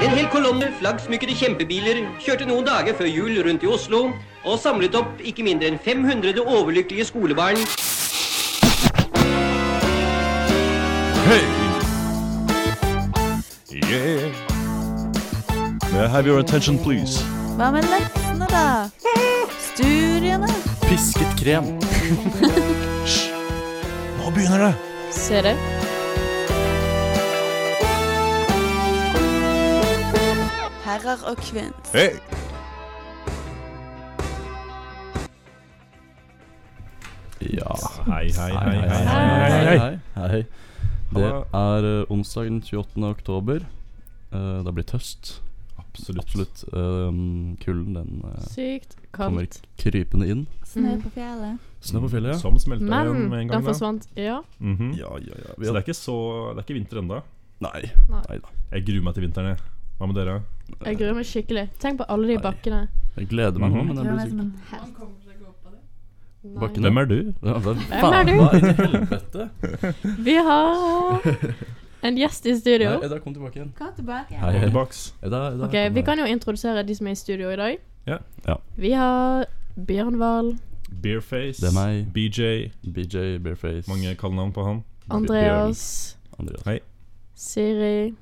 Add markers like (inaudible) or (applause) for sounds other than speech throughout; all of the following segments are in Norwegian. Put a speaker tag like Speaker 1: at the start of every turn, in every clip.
Speaker 1: hel kolonne flaggsmykkede kjempebiler kjørte noen dager før jul rundt i Oslo og samlet opp ikke mindre enn 500 overlykkelige skolebarn
Speaker 2: Hey! Yeah! May I have your attention, please?
Speaker 3: Hva med leksene, da? Studiene?
Speaker 4: Pisket krem.
Speaker 2: Nå begynner det!
Speaker 3: Ser du? Herrer og kvinner.
Speaker 2: Hey!
Speaker 4: Ja.
Speaker 5: Hei, hei, hei, hei,
Speaker 4: hei,
Speaker 5: hei, hei, hei.
Speaker 4: hei, hei. Det er eh, onsdag den 28. oktober. Eh, Det har blitt høst.
Speaker 5: Absolutt.
Speaker 4: Absolutt. Eh, Kulden den eh,
Speaker 6: Sykt
Speaker 4: kommer
Speaker 6: kaldt.
Speaker 4: krypende inn.
Speaker 3: Snø Sånn på fjellet.
Speaker 4: Snø på fjellet, ja.
Speaker 5: Som smelta igjen
Speaker 6: Men
Speaker 5: med en
Speaker 6: den
Speaker 5: gang. Da.
Speaker 6: forsvant. Ja.
Speaker 5: Mhm.
Speaker 4: Ja, ja, ja. Vi
Speaker 5: Så det
Speaker 4: har...
Speaker 5: er ikke så Det er ikke vinter ennå.
Speaker 4: Nei.
Speaker 6: Nei.
Speaker 4: Nei da.
Speaker 5: Jeg gruer meg til vinteren, jeg. Hva med dere?
Speaker 6: Jeg gruer meg skikkelig. Tenk på alle de
Speaker 4: Nei.
Speaker 6: bakkene.
Speaker 4: Jeg gleder meg nå,
Speaker 5: Mhm.
Speaker 4: men jeg
Speaker 3: Det
Speaker 4: blir
Speaker 3: var som
Speaker 4: syk.
Speaker 3: en helt
Speaker 4: Bakken
Speaker 5: Hvem er du?
Speaker 4: Ja, hvem
Speaker 6: Hvem er du?
Speaker 4: Hva i helvete?
Speaker 6: Vi
Speaker 4: (laughs)
Speaker 6: har en gjest i
Speaker 4: Nei,
Speaker 6: studio.
Speaker 4: Edda, kom tilbake igjen.
Speaker 3: Kom tilbake.
Speaker 4: Hei, hei.
Speaker 5: Tilbaks.
Speaker 4: Edda, Edda,
Speaker 6: Ok, Vi kan jo introdusere de som er i studio i dag.
Speaker 5: Ja.
Speaker 4: Ja.
Speaker 6: Vi har Bjørn Wahl,
Speaker 5: Beerface.
Speaker 4: Det er meg.
Speaker 5: BJ.
Speaker 4: BJ Bareface.
Speaker 5: Mange kallenavn på han.
Speaker 6: Andreas,
Speaker 4: Andreas.
Speaker 5: Hei.
Speaker 6: Siri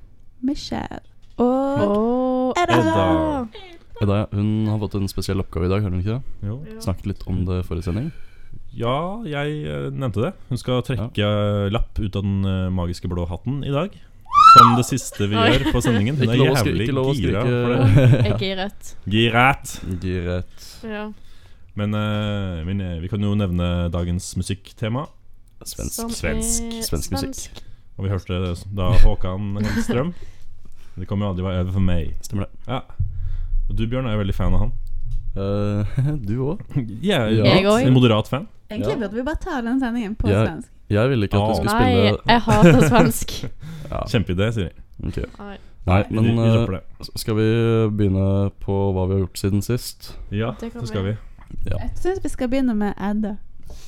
Speaker 3: Michelle. Og
Speaker 6: og
Speaker 3: Edda.
Speaker 5: Edda.
Speaker 4: Edda, ja, hun har fått en spesiell oppgave i dag, har hun ikke det?
Speaker 5: Jo.
Speaker 4: Snakket litt om det forrige sending.
Speaker 5: Ja, jeg eh, nevnte det. Hun skal trekke lapp ut av den eh, magiske blå hatten i dag. Som det siste vi
Speaker 6: Oi.
Speaker 5: gjør på sendingen. Hun
Speaker 4: Ikke
Speaker 5: er
Speaker 4: lov å skri-
Speaker 5: jævlig
Speaker 4: ikke lov å
Speaker 5: gira for det.
Speaker 4: skrike
Speaker 6: Jeg er giret.
Speaker 5: Girat!
Speaker 4: Giret.
Speaker 6: Ja.
Speaker 5: Men, eh, men eh, vi kan jo nevne dagens musikktema.
Speaker 4: Svensk.
Speaker 6: Som er
Speaker 5: svensk,
Speaker 4: svensk musikk.
Speaker 5: Og vi hørte det da Håkan Hellstrøm. Det kommer aldri være over for meg.
Speaker 4: Stemmer det.
Speaker 5: Ja. Og du, Bjørn, er jo veldig
Speaker 4: (laughs)
Speaker 5: fan av han.
Speaker 4: Eh, (laughs) du òg.
Speaker 5: Jeg er jo
Speaker 6: Jeg
Speaker 5: moderat-
Speaker 6: også.
Speaker 5: en moderat fan.
Speaker 3: Egentlig
Speaker 4: Ja.
Speaker 3: burde vi bare ta den sendingen på
Speaker 4: Ja.
Speaker 3: svensk.
Speaker 4: Jeg ville ikke at du
Speaker 5: Åh.
Speaker 4: skulle
Speaker 6: Nei,
Speaker 4: spille
Speaker 6: jeg hater
Speaker 4: (laughs)
Speaker 6: svensk.
Speaker 4: ja,
Speaker 5: Kjempeidé, sier jeg.
Speaker 4: ok.
Speaker 6: Nei.
Speaker 4: Nei, men
Speaker 5: vi, vi
Speaker 4: eh,
Speaker 5: dropper det.
Speaker 4: skal vi begynne på hva vi har gjort siden sist?
Speaker 5: Ja,
Speaker 6: det kan
Speaker 5: så skal
Speaker 6: vi.
Speaker 5: vi.
Speaker 3: Jeg syns vi skal begynne med Edda.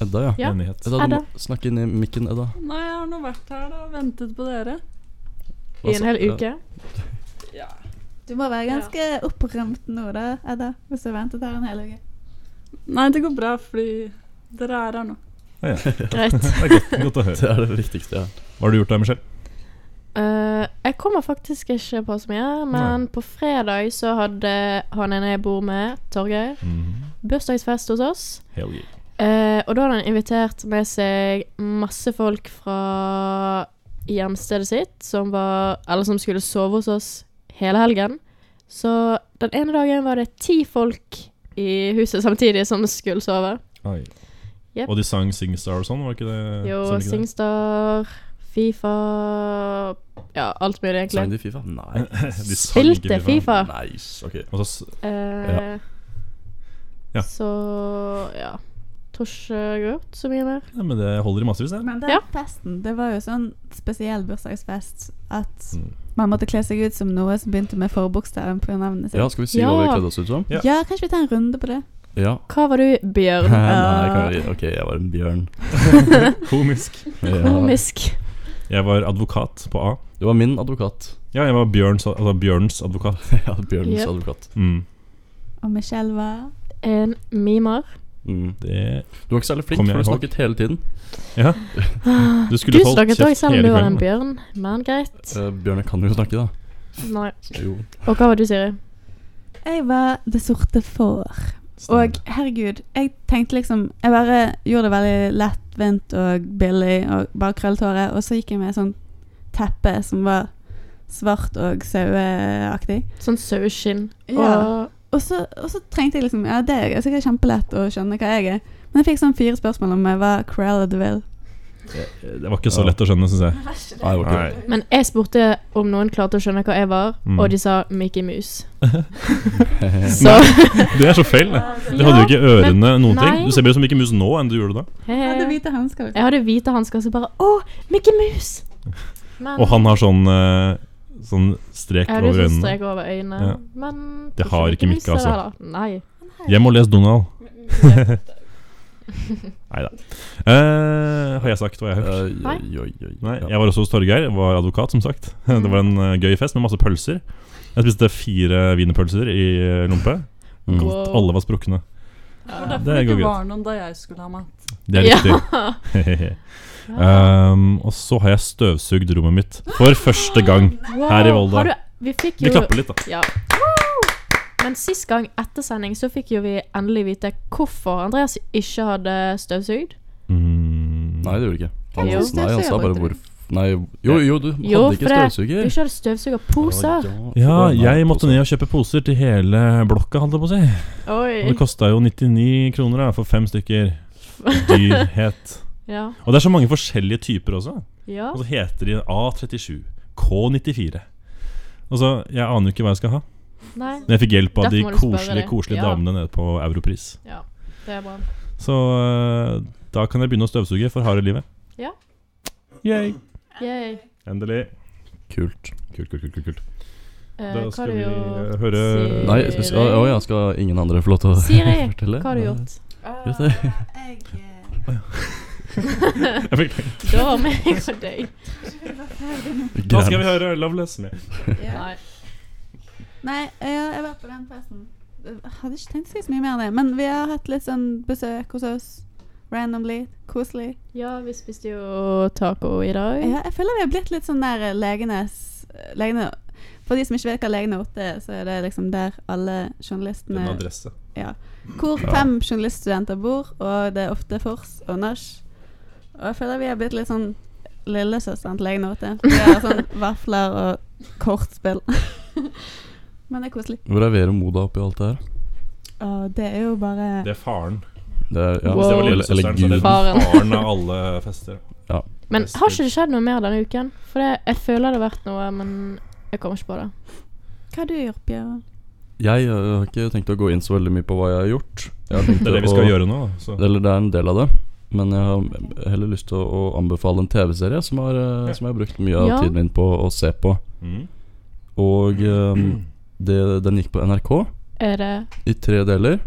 Speaker 4: Edda, ja.
Speaker 6: Ja.
Speaker 5: Enighet.
Speaker 4: Edda, du
Speaker 6: Edda.
Speaker 4: må snakke inn i mikken, Edda.
Speaker 7: Nei, jeg har nå vært her da, ventet på dere.
Speaker 6: I en hel
Speaker 4: Ja.
Speaker 6: uke.
Speaker 7: Ja.
Speaker 3: Du må være ganske opprømt nå, da, Edda. Hvis du har ventet her en hel uke.
Speaker 7: Nei, det går bra, fordi dere er her nå.
Speaker 6: Greit.
Speaker 5: (laughs) Det er godt, godt å høre.
Speaker 4: (laughs) (laughs) Det er det viktigste, ja.
Speaker 5: Hva har du gjort da, Michelle?
Speaker 6: Eh, jeg kommer faktisk ikke på så mye, men på fredag så hadde han ene jeg bor med, Torgeir,
Speaker 4: Mhm.
Speaker 6: bursdagsfest hos oss.
Speaker 5: Hell yeah.
Speaker 6: Eh, og da hadde han invitert med seg masse folk fra hjemstedet sitt, som var Eller som skulle sove hos oss hele helgen. Så den ene dagen var det ti folk i huset (laughs) samtidig som skulle sove.
Speaker 5: Oi.
Speaker 6: Yep.
Speaker 5: Og de sang Singstar og sånn, var ikke det?
Speaker 6: Jo,
Speaker 5: sånn ikke det?
Speaker 6: Singstar, Fifa Ja, alt mulig,
Speaker 5: Sånn,
Speaker 4: Sang
Speaker 6: egentlig.
Speaker 4: de Fifa? Nei.
Speaker 5: (laughs) (laughs) De sang ikke
Speaker 6: Spilte
Speaker 5: FIFA.
Speaker 6: Fifa.
Speaker 4: Nice. Ok.
Speaker 5: Og så s-
Speaker 6: Eh,
Speaker 5: Ja.
Speaker 6: Så ja. Tror ikke jeg har gjort så mye mer.
Speaker 5: Nei, men det holder i massevis, det.
Speaker 3: Men den
Speaker 6: Ja.
Speaker 3: festen, det var jo sånn spesiell bursdagsfest at
Speaker 5: Mm.
Speaker 3: man måtte kle seg ut som noe som begynte med forbokstaven på navnet sitt.
Speaker 4: Ja,
Speaker 3: Ja.
Speaker 4: skal vi si
Speaker 6: Ja.
Speaker 4: hva vi kledde oss ut som?
Speaker 5: Ja.
Speaker 3: kanskje vi tar en runde på det?
Speaker 4: Ja.
Speaker 6: Hva var du,
Speaker 5: (laughs)
Speaker 6: Bjørn?
Speaker 4: (laughs)
Speaker 6: Eh,
Speaker 4: Nei, kan vi, ok, jeg var en
Speaker 6: (laughs)
Speaker 4: bjørn.
Speaker 5: Komisk.
Speaker 4: Ja.
Speaker 6: Komisk.
Speaker 5: Jeg var advokat på A.
Speaker 4: Det var min advokat. (laughs)
Speaker 5: Ja, jeg var Bjørns, altså Bjørns advokat.
Speaker 4: Ja, Bjørnens
Speaker 6: Yep.
Speaker 4: advokat.
Speaker 5: Mm.
Speaker 3: Og Michelle var
Speaker 6: En mimer.
Speaker 4: Mm.
Speaker 5: Det
Speaker 4: Du var ikke særlig flink,
Speaker 5: Kom jeg
Speaker 4: for du
Speaker 5: i hog?
Speaker 4: snakket hele tiden.
Speaker 5: Ja. Du skulle holdt
Speaker 6: snakket
Speaker 5: kjeft
Speaker 6: også selv om
Speaker 5: hele
Speaker 6: du var en
Speaker 5: kvelden.
Speaker 6: bjørn, men greit.
Speaker 4: Eh, Bjørnar kan jo snakke, da.
Speaker 6: Nei.
Speaker 4: Jo.
Speaker 6: Og hva var du, Siri?
Speaker 3: Jeg var det sorte får. Og herregud, jeg tenkte liksom Jeg bare gjorde det veldig lettvint og billig og bare krøllet håret, og så gikk jeg med sånn teppe som var svart og saueaktig.
Speaker 6: Sånn saueskinn.
Speaker 3: Ja.
Speaker 6: Og
Speaker 3: Og så, og så trengte jeg liksom Ja, det er sikkert kjempelett å skjønne hva jeg er. Men jeg fikk sånn fire spørsmål om jeg var Cruella de Ville.
Speaker 5: Eh, Det var ikke så lett å skjønne, syns jeg.
Speaker 4: Nei, det var ikke det.
Speaker 5: Nei.
Speaker 6: Men jeg spurte om noen klarte å skjønne hva jeg var,
Speaker 5: Mm.
Speaker 6: og de sa Mickey Mouse.
Speaker 4: (laughs)
Speaker 6: Så
Speaker 5: Det er så feil, det. Du hadde jo ikke ørene noen ting. Du ser bedre ut som Mikke Mus nå enn du gjorde da.
Speaker 3: Jeg hadde
Speaker 6: hei.
Speaker 3: hvite hansker.
Speaker 6: Jeg hadde hvite hansker, så bare Å, Mickey
Speaker 5: (laughs)
Speaker 6: Mouse! Men
Speaker 5: Og han har sånn eh, Sånn strek
Speaker 6: jeg hadde
Speaker 5: over
Speaker 6: sånn
Speaker 5: øynene.
Speaker 6: strek over øynene.
Speaker 5: Ja.
Speaker 6: Men
Speaker 5: Det har ikke Mickey,
Speaker 6: Mouse er det
Speaker 5: altså.
Speaker 6: (laughs) heller. Nei.
Speaker 5: Hjem og les Donald. Nei da. Eh, har jeg sagt hva jeg har hørt?
Speaker 4: Eh,
Speaker 6: Nei.
Speaker 4: oi, oi, oi.
Speaker 5: Nei,
Speaker 4: Ja.
Speaker 5: jeg var også hos Torgeir, var advokat som sagt (laughs) Det var en eh, gøy fest med masse pølser Jeg spiste fire wienerpølser i eh, lompe
Speaker 4: Mm.
Speaker 6: Wow.
Speaker 5: Alle var sprukne
Speaker 7: Og
Speaker 5: Det
Speaker 7: derfor det
Speaker 5: går
Speaker 7: ikke
Speaker 5: greit.
Speaker 7: var noen da jeg skulle ha mat.
Speaker 5: Det er riktig
Speaker 6: (laughs)
Speaker 5: um, Og så har jeg støvsugd rommet mitt For første gang
Speaker 6: Wow,
Speaker 5: Her i Volda.
Speaker 6: har du- Vi fikk
Speaker 5: Vi
Speaker 6: Ah, jo
Speaker 5: klapper litt da
Speaker 6: Ja. Men sist gang etter sending så fikk jo vi endelig vite hvorfor Andreas ikke hadde støvsugd.
Speaker 5: mm,
Speaker 4: Nei, det gjorde du ikke. Han,
Speaker 6: Jo.
Speaker 4: nei, han sa bare hvorfor Nei, jo, jo, du hadde
Speaker 6: Jo, for
Speaker 4: ikke
Speaker 6: det- Du
Speaker 4: støvsuger.
Speaker 6: ikke hadde støvsugerposer.
Speaker 5: Ja, jeg måtte ned og kjøpe poser til hele blokka Holdt jeg på å si Og
Speaker 6: Oi.
Speaker 5: det kostet jo 99 kroner da For fem stykker Dyrhet
Speaker 6: Ja.
Speaker 5: Og det er så mange forskjellige typer også
Speaker 6: ja.
Speaker 5: Og så heter de A37, K94. Og så, Altså, Jeg aner jo ikke hva jeg skal ha.
Speaker 6: Nei,
Speaker 5: Men jeg fikk hjelp av
Speaker 6: Derfor
Speaker 5: de
Speaker 6: må du spørre
Speaker 5: koselige
Speaker 6: det.
Speaker 5: koselige
Speaker 6: Ja.
Speaker 5: damene nede på Europris.
Speaker 6: det er bra.
Speaker 5: Så øh, da kan jeg begynne å støvsuge for harde livet.
Speaker 6: Ja.
Speaker 5: Yay.
Speaker 6: Yay.
Speaker 5: Endelig.
Speaker 4: Kult.
Speaker 5: Kult, kult, kult. kult, kult.
Speaker 6: Eh,
Speaker 5: Da
Speaker 6: hva har
Speaker 5: skal
Speaker 6: du
Speaker 5: vi eh,
Speaker 6: gjort,
Speaker 5: høre-
Speaker 4: Nei, skal, skal, å ja, skal ingen andre få lov til å
Speaker 6: Siri,
Speaker 4: (laughs)
Speaker 6: hva
Speaker 4: fortelle?
Speaker 6: har du gjort?
Speaker 4: Just det.
Speaker 3: Ah, jeg
Speaker 5: (laughs)
Speaker 3: eh,
Speaker 5: Jeg fikk det.
Speaker 6: Da var meg og deg.
Speaker 4: (laughs)
Speaker 5: Nå skal vi høre Loveless med
Speaker 6: Nei.
Speaker 3: Nei, eh, ja, jeg var på den festen. Jeg hadde ikke tenkt å si så mye mer om det, men vi har hatt litt sånn besøk hos oss. Randomly. Koselig.
Speaker 6: (laughs) Ja, vi spiste jo taco i dag.
Speaker 3: Ja, jeg føler vi har blitt litt sånn der eh, legenes eh, legene, For de som ikke vet hva Legene 8 er, så er det liksom der alle
Speaker 5: en
Speaker 3: journalistene
Speaker 5: adresse.
Speaker 3: Hvor fem journaliststudenter bor, og det er ofte vors og nach. Og jeg føler vi har blitt litt sånn lillesøsteren til Legene 8. Vi har
Speaker 5: (laughs)
Speaker 3: sånn vafler og kortspill. (laughs) men det er koselig.
Speaker 4: Hvor er Vero Moda oppi alt det her?
Speaker 3: Og det er jo bare
Speaker 5: Det er faren.
Speaker 4: Det er, ja,
Speaker 6: Wow.
Speaker 5: Hvis det var
Speaker 4: eller- eller
Speaker 5: lillesøsteren, så er det
Speaker 4: Gud.
Speaker 6: Faren.
Speaker 5: faren av alle fester.
Speaker 6: Men har ikke det skjedd noe mer denne uken? For det, jeg føler det har vært noe, men jeg kommer ikke på det.
Speaker 3: Hva har du gjort, Bjørn?
Speaker 4: Jeg øh, har ikke tenkt å gå inn så veldig mye på hva jeg har gjort. Jeg
Speaker 5: (laughs)
Speaker 4: har tenkt
Speaker 5: (laughs) Det er det vi
Speaker 4: å-
Speaker 5: skal gjøre nå. da, Så.
Speaker 4: Eller det er en del av det. Men jeg har heller lyst til å å anbefale en TV-serie som, har, øh, som jeg har brukt mye av
Speaker 6: Ja.
Speaker 4: tiden min på å se på.
Speaker 5: Mm.
Speaker 4: Og
Speaker 5: (clears throat)
Speaker 4: øhm, det, den gikk på NRK
Speaker 6: Er det
Speaker 4: i tre deler.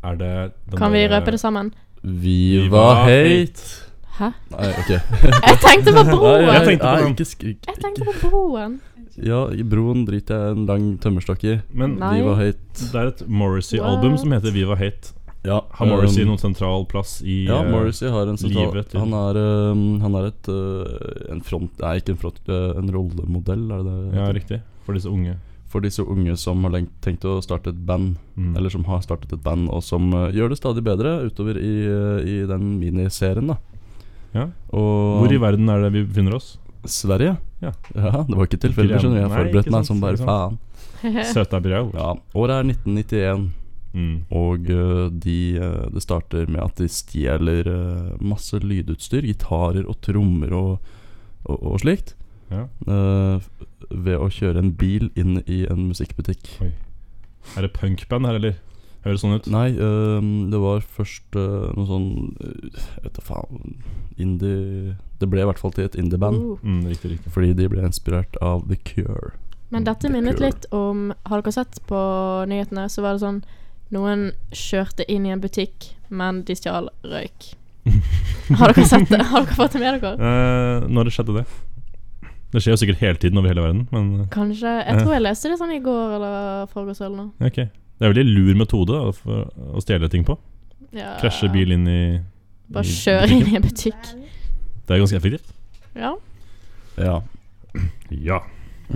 Speaker 5: Er det den
Speaker 6: Kan vi
Speaker 5: der- eh,
Speaker 6: røpe det sammen?
Speaker 4: Viva Hate!
Speaker 6: Hæ?
Speaker 4: Nei,
Speaker 6: (laughs)
Speaker 4: ok.
Speaker 6: Jeg tenkte på broen!
Speaker 5: jeg tenkte på
Speaker 4: nei,
Speaker 5: den.
Speaker 4: ikke skrik.
Speaker 6: Jeg tenkte på broen.
Speaker 4: Ja, i broen driter jeg en lang tømmerstokk i.
Speaker 5: Men
Speaker 6: Nei.
Speaker 4: Viva Hate.
Speaker 5: det er et Morrissey-album som heter Viva Hate.
Speaker 4: Ja,
Speaker 5: Har Morrissey
Speaker 4: øhm,
Speaker 5: noen sentral plass i
Speaker 4: Ehm, Ja,
Speaker 5: eh,
Speaker 4: Morrissey har en sentral
Speaker 5: livet til-
Speaker 4: han, er, øhm, han er et øh, en front... Nei, ikke en front... øh, en rollemodell, er det det?
Speaker 5: Ja, riktig. For disse unge.
Speaker 4: For disse unge som har lengt, tenkt å starte et band,
Speaker 5: Mm.
Speaker 4: eller som har startet et band, og som øh, gjør det stadig bedre utover i, øh, i den miniserien, da.
Speaker 5: Ja.
Speaker 4: Og
Speaker 5: Hvor i verden er det vi befinner oss?
Speaker 4: Sverige.
Speaker 5: Ja.
Speaker 4: det var ikke tilfeldig,
Speaker 5: Gren-
Speaker 4: skjønner du. Jeg
Speaker 5: Nei, ikke
Speaker 4: forberedte meg
Speaker 5: sant,
Speaker 4: som bare
Speaker 5: ikke
Speaker 4: faen.
Speaker 5: sant. Søtabirau.
Speaker 4: Ja, Året er 1991,
Speaker 5: Mm.
Speaker 4: og øh, de, øh, det starter med at de stjeler øh, masse lydutstyr. Gitarer og trommer og, og, og slikt.
Speaker 5: Ja.
Speaker 4: øh, f- ved å kjøre en bil inn i en musikkbutikk.
Speaker 5: Er det punkband her, eller? Høres sånn ut.
Speaker 4: Nei, øhm, det var først øh, noe sånn øh, Jeg vet da faen Indie Det ble i hvert fall til et indieband.
Speaker 6: Uh.
Speaker 5: Mm, riktig, riktig.
Speaker 4: Fordi de ble inspirert av The Cure.
Speaker 6: Men dette minnet litt om Har dere sett på nyhetene, så var det sånn Noen kjørte inn i en butikk, men de stjal røyk. Har dere sett det? Har dere fått det med dere?
Speaker 5: Eh, når det skjedde det? Det skjer jo sikkert hele tiden over hele verden, men eh,
Speaker 6: Kanskje Jeg tror jeg leste det sånn i går eller forgårs eller noe.
Speaker 5: ok. Det er veldig lur metode da, for å stjele ting på.
Speaker 6: Ja.
Speaker 5: Krasje bil inn i
Speaker 6: Bare
Speaker 5: i
Speaker 6: kjøre inn i en butikk.
Speaker 5: Det er ganske effektivt.
Speaker 6: Ja.
Speaker 4: Ja. (laughs)
Speaker 5: Ja.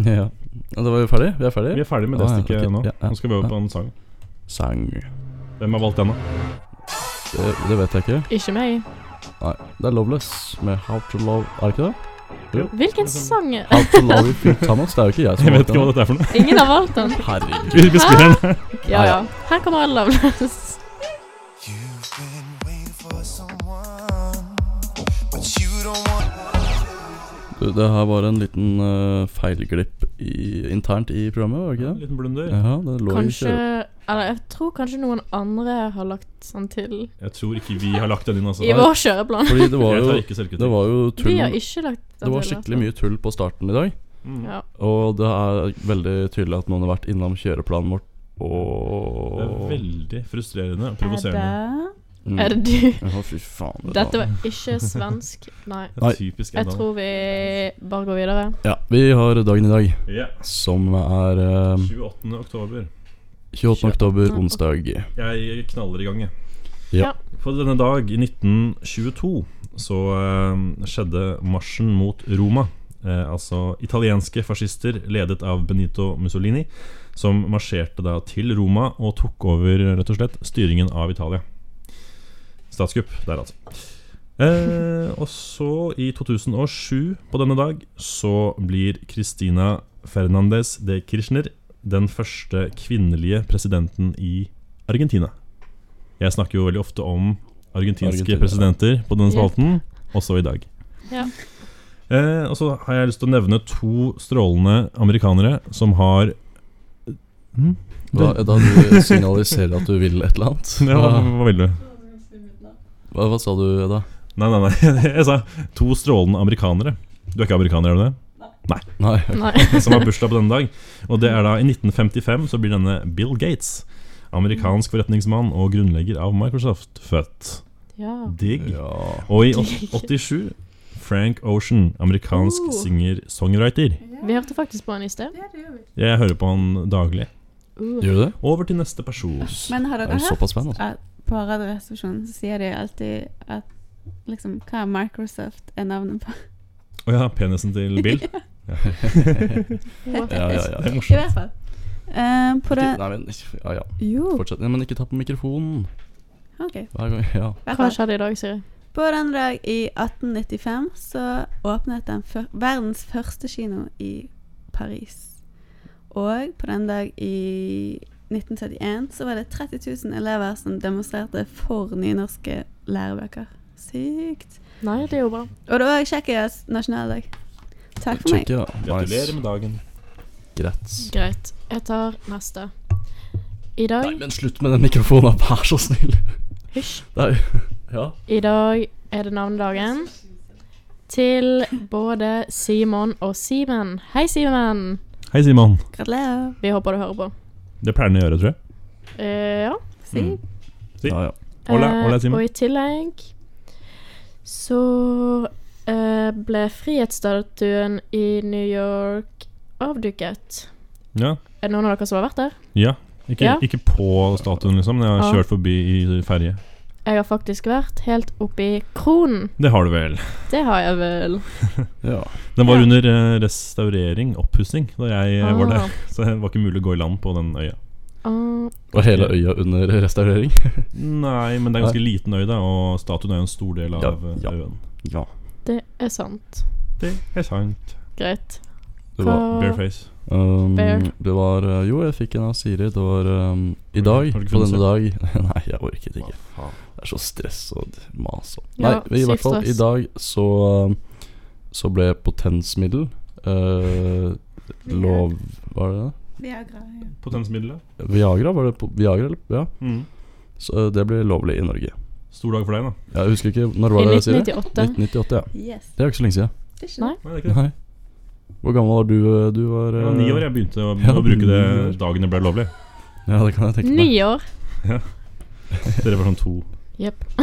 Speaker 4: ja. Da var vi ferdige? Vi er ferdige?
Speaker 5: Vi er ferdig med det
Speaker 4: Ah, ja,
Speaker 5: stikket
Speaker 4: ok.
Speaker 5: nå.
Speaker 4: Ja, ja,
Speaker 5: Nå skal vi over
Speaker 4: ja.
Speaker 5: på en sang.
Speaker 4: Sang
Speaker 5: Hvem har valgt den, da?
Speaker 4: det, det vet jeg ikke.
Speaker 6: Ikke meg.
Speaker 4: Nei, det er Loveless med How to Love Er det ikke det?
Speaker 6: Hvilken sang?
Speaker 4: How to Love You Feel Thomas. Det er jo ikke jeg som
Speaker 5: (laughs) Jeg
Speaker 4: har
Speaker 5: vet ikke hva
Speaker 4: valgt
Speaker 5: dette er for noe.
Speaker 6: Ingen har valgt den.
Speaker 4: den. Herregud.
Speaker 5: Vi spiller den.
Speaker 4: Ah,
Speaker 6: Ja, ja. Her kommer alle Loveless.
Speaker 8: You've been waiting for someone, but you don't want.
Speaker 4: Du, det her var en liten eh, feilglipp i, internt i programmet, var det ikke
Speaker 5: En
Speaker 4: det?
Speaker 5: liten blunder.
Speaker 4: (laughs) Ja, det lå
Speaker 6: (laughs) Kanskje
Speaker 4: i kjøre...
Speaker 6: Eller jeg tror kanskje noen andre har lagt sånn til
Speaker 5: Jeg tror ikke vi har lagt den inn, altså.
Speaker 6: i vår kjøreplan.
Speaker 4: Fordi det
Speaker 5: (laughs)
Speaker 4: var
Speaker 5: Jeg tar
Speaker 4: jo,
Speaker 5: ikke selvkritikk.
Speaker 4: det var jo
Speaker 6: Vi har
Speaker 4: tull
Speaker 6: ikke lagt den
Speaker 4: Det
Speaker 6: til,
Speaker 4: var
Speaker 6: altså. i hvert
Speaker 4: skikkelig
Speaker 6: fall.
Speaker 4: mye tull på starten i dag.
Speaker 5: Mm.
Speaker 6: Ja.
Speaker 4: Og det er veldig tydelig at noen har vært innom kjøreplanen vår og
Speaker 5: Det er veldig frustrerende og
Speaker 3: Er
Speaker 5: provoserende.
Speaker 3: det
Speaker 4: Mm.
Speaker 6: Er det du?
Speaker 4: Å, fy faen. det
Speaker 6: Dette
Speaker 4: da.
Speaker 6: var ikke svensk.
Speaker 4: (laughs)
Speaker 6: Nei.
Speaker 5: Det er
Speaker 4: Nei.
Speaker 5: Typisk
Speaker 6: Jeg
Speaker 5: Edda.
Speaker 6: tror vi bare går videre.
Speaker 4: Ja, vi har dagen i dag,
Speaker 5: Ja.
Speaker 4: som er eh,
Speaker 5: 28. oktober.
Speaker 4: 28. oktober,
Speaker 6: Ja.
Speaker 4: onsdag.
Speaker 5: Jeg knaller i gang, jeg.
Speaker 4: Ja.
Speaker 5: På denne dag, i 1922, så eh, skjedde marsjen mot Roma. Eh, altså italienske fascister ledet av Benito Mussolini, som marsjerte da til Roma og tok over rett og slett styringen av Italia. Statskupp der, altså. Eh, og så, i 2007, på denne dag, så blir Christina Fernandez de Kirchner den første kvinnelige presidenten i Argentina. Jeg snakker jo veldig ofte om argentinske
Speaker 4: Argentina, ja.
Speaker 5: presidenter på denne spalten, også i dag.
Speaker 6: Ja.
Speaker 5: Eh, og så har jeg lyst til å nevne to strålende amerikanere som har hm?
Speaker 4: Da, da du signaliserer at du vil et eller annet.
Speaker 5: (laughs) ja, hva,
Speaker 4: Hva,
Speaker 5: hva vil du?
Speaker 4: hva, hva sa du, Edda?
Speaker 5: Nei, nei, nei. (laughs) Jeg sa to strålende amerikanere. Du er ikke amerikaner, er du det?
Speaker 4: Nei.
Speaker 6: Nei. (laughs)
Speaker 5: som har bursdag på denne dag. Og det er da i 1955 så blir denne Bill Gates, amerikansk forretningsmann og grunnlegger av Microsoft, født.
Speaker 6: Ja.
Speaker 5: Digg.
Speaker 4: Ja.
Speaker 5: Og i åt- 87 Frank Ocean, amerikansk
Speaker 6: Oh.
Speaker 5: singer-songwriter.
Speaker 6: Vi hørte faktisk på han i sted.
Speaker 5: Jeg hører på han daglig.
Speaker 6: Uh.
Speaker 4: Gjør du det?
Speaker 5: Over til neste person.
Speaker 3: Men har
Speaker 4: Er
Speaker 3: dere
Speaker 4: du
Speaker 3: hørt
Speaker 4: såpass fan,
Speaker 3: (laughs)
Speaker 4: altså?
Speaker 3: at på Radioresepsjonen så sier de alltid at liksom, hva er Microsoft er navnet på?
Speaker 5: Å ja, penisen til Bill.
Speaker 4: Ja, ja, ja.
Speaker 5: Det er
Speaker 3: I
Speaker 5: morsomt.
Speaker 3: hvert fall. Eh, på det
Speaker 4: Nei, men ikke- ja, ja.
Speaker 3: Jo,
Speaker 4: Fortsett. Nei, men ikke ta på mikrofonen
Speaker 3: OK. i
Speaker 4: hver gang. Ja.
Speaker 3: hvert
Speaker 6: Hva
Speaker 3: fall.
Speaker 6: skjedde i dag, Siri?
Speaker 3: På den dag i 1895 så åpnet den fyr- verdens første kino i Paris. Og på den dag i 1971 så var det 30 000 elever som demonstrerte for nynorske lærebøker. Sykt.
Speaker 6: Nei, det er jo bra.
Speaker 3: Og det var Tsjekkias nasjonaldag. Takk for meg.
Speaker 4: Check, ja.
Speaker 5: Gratulerer
Speaker 4: Nice.
Speaker 5: med dagen.
Speaker 4: Grats.
Speaker 6: Greit. Jeg tar neste. I dag
Speaker 4: Nei, men slutt med den mikrofonen, vær så snill.
Speaker 6: Hysj.
Speaker 4: Det er jo Ja.
Speaker 6: I dag er det navnedagen til både Simon og Simen. Hei, Simen!
Speaker 5: Hei, Simon.
Speaker 3: Gratulerer.
Speaker 6: Vi håper du hører på.
Speaker 5: Det pleier han å gjøre, tror jeg.
Speaker 6: Eh, ja.
Speaker 5: Mm.
Speaker 3: Sykt.
Speaker 4: ja, ja.
Speaker 5: Hola, hola,
Speaker 6: Eh,
Speaker 5: Simen.
Speaker 6: Og i tillegg så eh, ble frihetsstatuen i New York avduket.
Speaker 5: Ja.
Speaker 6: Er det noen av dere som har vært der?
Speaker 5: ja. Ikke,
Speaker 6: Ja.
Speaker 5: ikke på statuen, liksom. men Jeg
Speaker 6: Ja.
Speaker 5: har kjørt forbi i ferje.
Speaker 6: Jeg har faktisk vært helt oppe i Kronen.
Speaker 5: Det har du vel.
Speaker 6: Det har jeg vel.
Speaker 4: ja.
Speaker 5: Den var
Speaker 6: Ja.
Speaker 5: under eh, restaurering, oppussing, da jeg eh, var der. Så det var ikke mulig å gå i land på den øya.
Speaker 6: Ah, ah,
Speaker 4: Og hele øya under restaurering.
Speaker 5: Nei, men det er en ganske liten øy, da, og statuen er jo en stor del av
Speaker 4: Ja,
Speaker 5: eh,
Speaker 4: ja.
Speaker 5: øyen.
Speaker 4: Ja.
Speaker 6: det er sant.
Speaker 5: Det er sant.
Speaker 6: Greit.
Speaker 4: Det var
Speaker 6: Hva-
Speaker 5: Bareface.
Speaker 4: um,
Speaker 6: Bear.
Speaker 4: Det var eh, Jo, jeg fikk en av Siri. Det var um, i
Speaker 5: Har du-
Speaker 4: dag,
Speaker 5: har du ikke
Speaker 4: på
Speaker 5: funnet
Speaker 4: denne dag (laughs) Nei, jeg orket ikke.
Speaker 5: faen?
Speaker 4: Det er så stress og d- mas og
Speaker 6: Ja,
Speaker 4: Nei, i
Speaker 6: sykt
Speaker 4: hvert fall, i
Speaker 6: stress.
Speaker 4: dag så um, Så ble potensmiddel eh, lov Var det det?
Speaker 3: Viagra. ja.
Speaker 5: Potensmiddelet.
Speaker 4: Viagra, var det? po- Viagra, eller? Ja.
Speaker 5: Mm.
Speaker 4: Så eh, det ble lovlig i Norge.
Speaker 5: Stor dag for deg, da.
Speaker 4: Jeg husker ikke Når
Speaker 6: I
Speaker 4: var det, Siri?
Speaker 6: 1998.
Speaker 4: 1998, ja.
Speaker 3: Yes.
Speaker 4: Det er jo ikke så lenge siden.
Speaker 3: Det er ikke det.
Speaker 6: Nei.
Speaker 5: Nei, det er ikke det.
Speaker 4: Nei. Hvor gammel var du? eh, Du var
Speaker 5: Jeg var
Speaker 4: eh,
Speaker 5: ni år jeg begynte å,
Speaker 4: Ja,
Speaker 5: å bruke det
Speaker 4: ni år.
Speaker 5: dagen det ble lovlig.
Speaker 4: eh, Ja, det kan jeg tenke
Speaker 6: Ni
Speaker 4: meg.
Speaker 6: år.
Speaker 5: Dere var sånn to.
Speaker 6: Jepp.
Speaker 5: (laughs)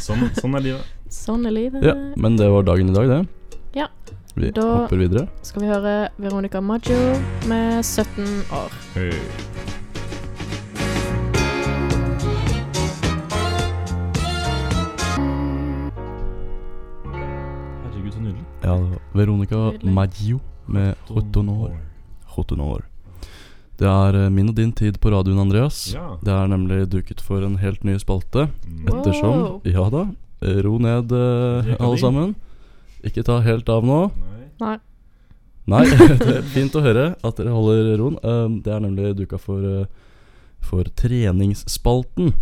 Speaker 5: Sånn, sånn er livet.
Speaker 6: Sånn er livet.
Speaker 4: Ja, men det var dagen i dag, det.
Speaker 6: Ja.
Speaker 4: Vi
Speaker 6: Da-
Speaker 4: hopper videre.
Speaker 6: skal vi høre Veronica Maggio med 17 år.
Speaker 5: Hey. Herregud, så nydelig.
Speaker 4: Ja, det var Veronica
Speaker 6: Nydelig.
Speaker 4: Maggio med 18 år. 18 år. Det er eh, min og din tid på radioen, Andreas.
Speaker 5: Ja.
Speaker 4: Det er nemlig duket for en helt ny spalte.
Speaker 5: Mm.
Speaker 4: Ettersom
Speaker 6: Wow.
Speaker 4: Ja da, ro ned eh,
Speaker 5: Rekadin.
Speaker 4: alle sammen. Ikke ta helt av nå.
Speaker 5: Nei.
Speaker 6: Nei.
Speaker 4: Nei, (laughs) det er fint å høre at dere holder roen. Um, Det er nemlig duka for, uh, for treningsspalten.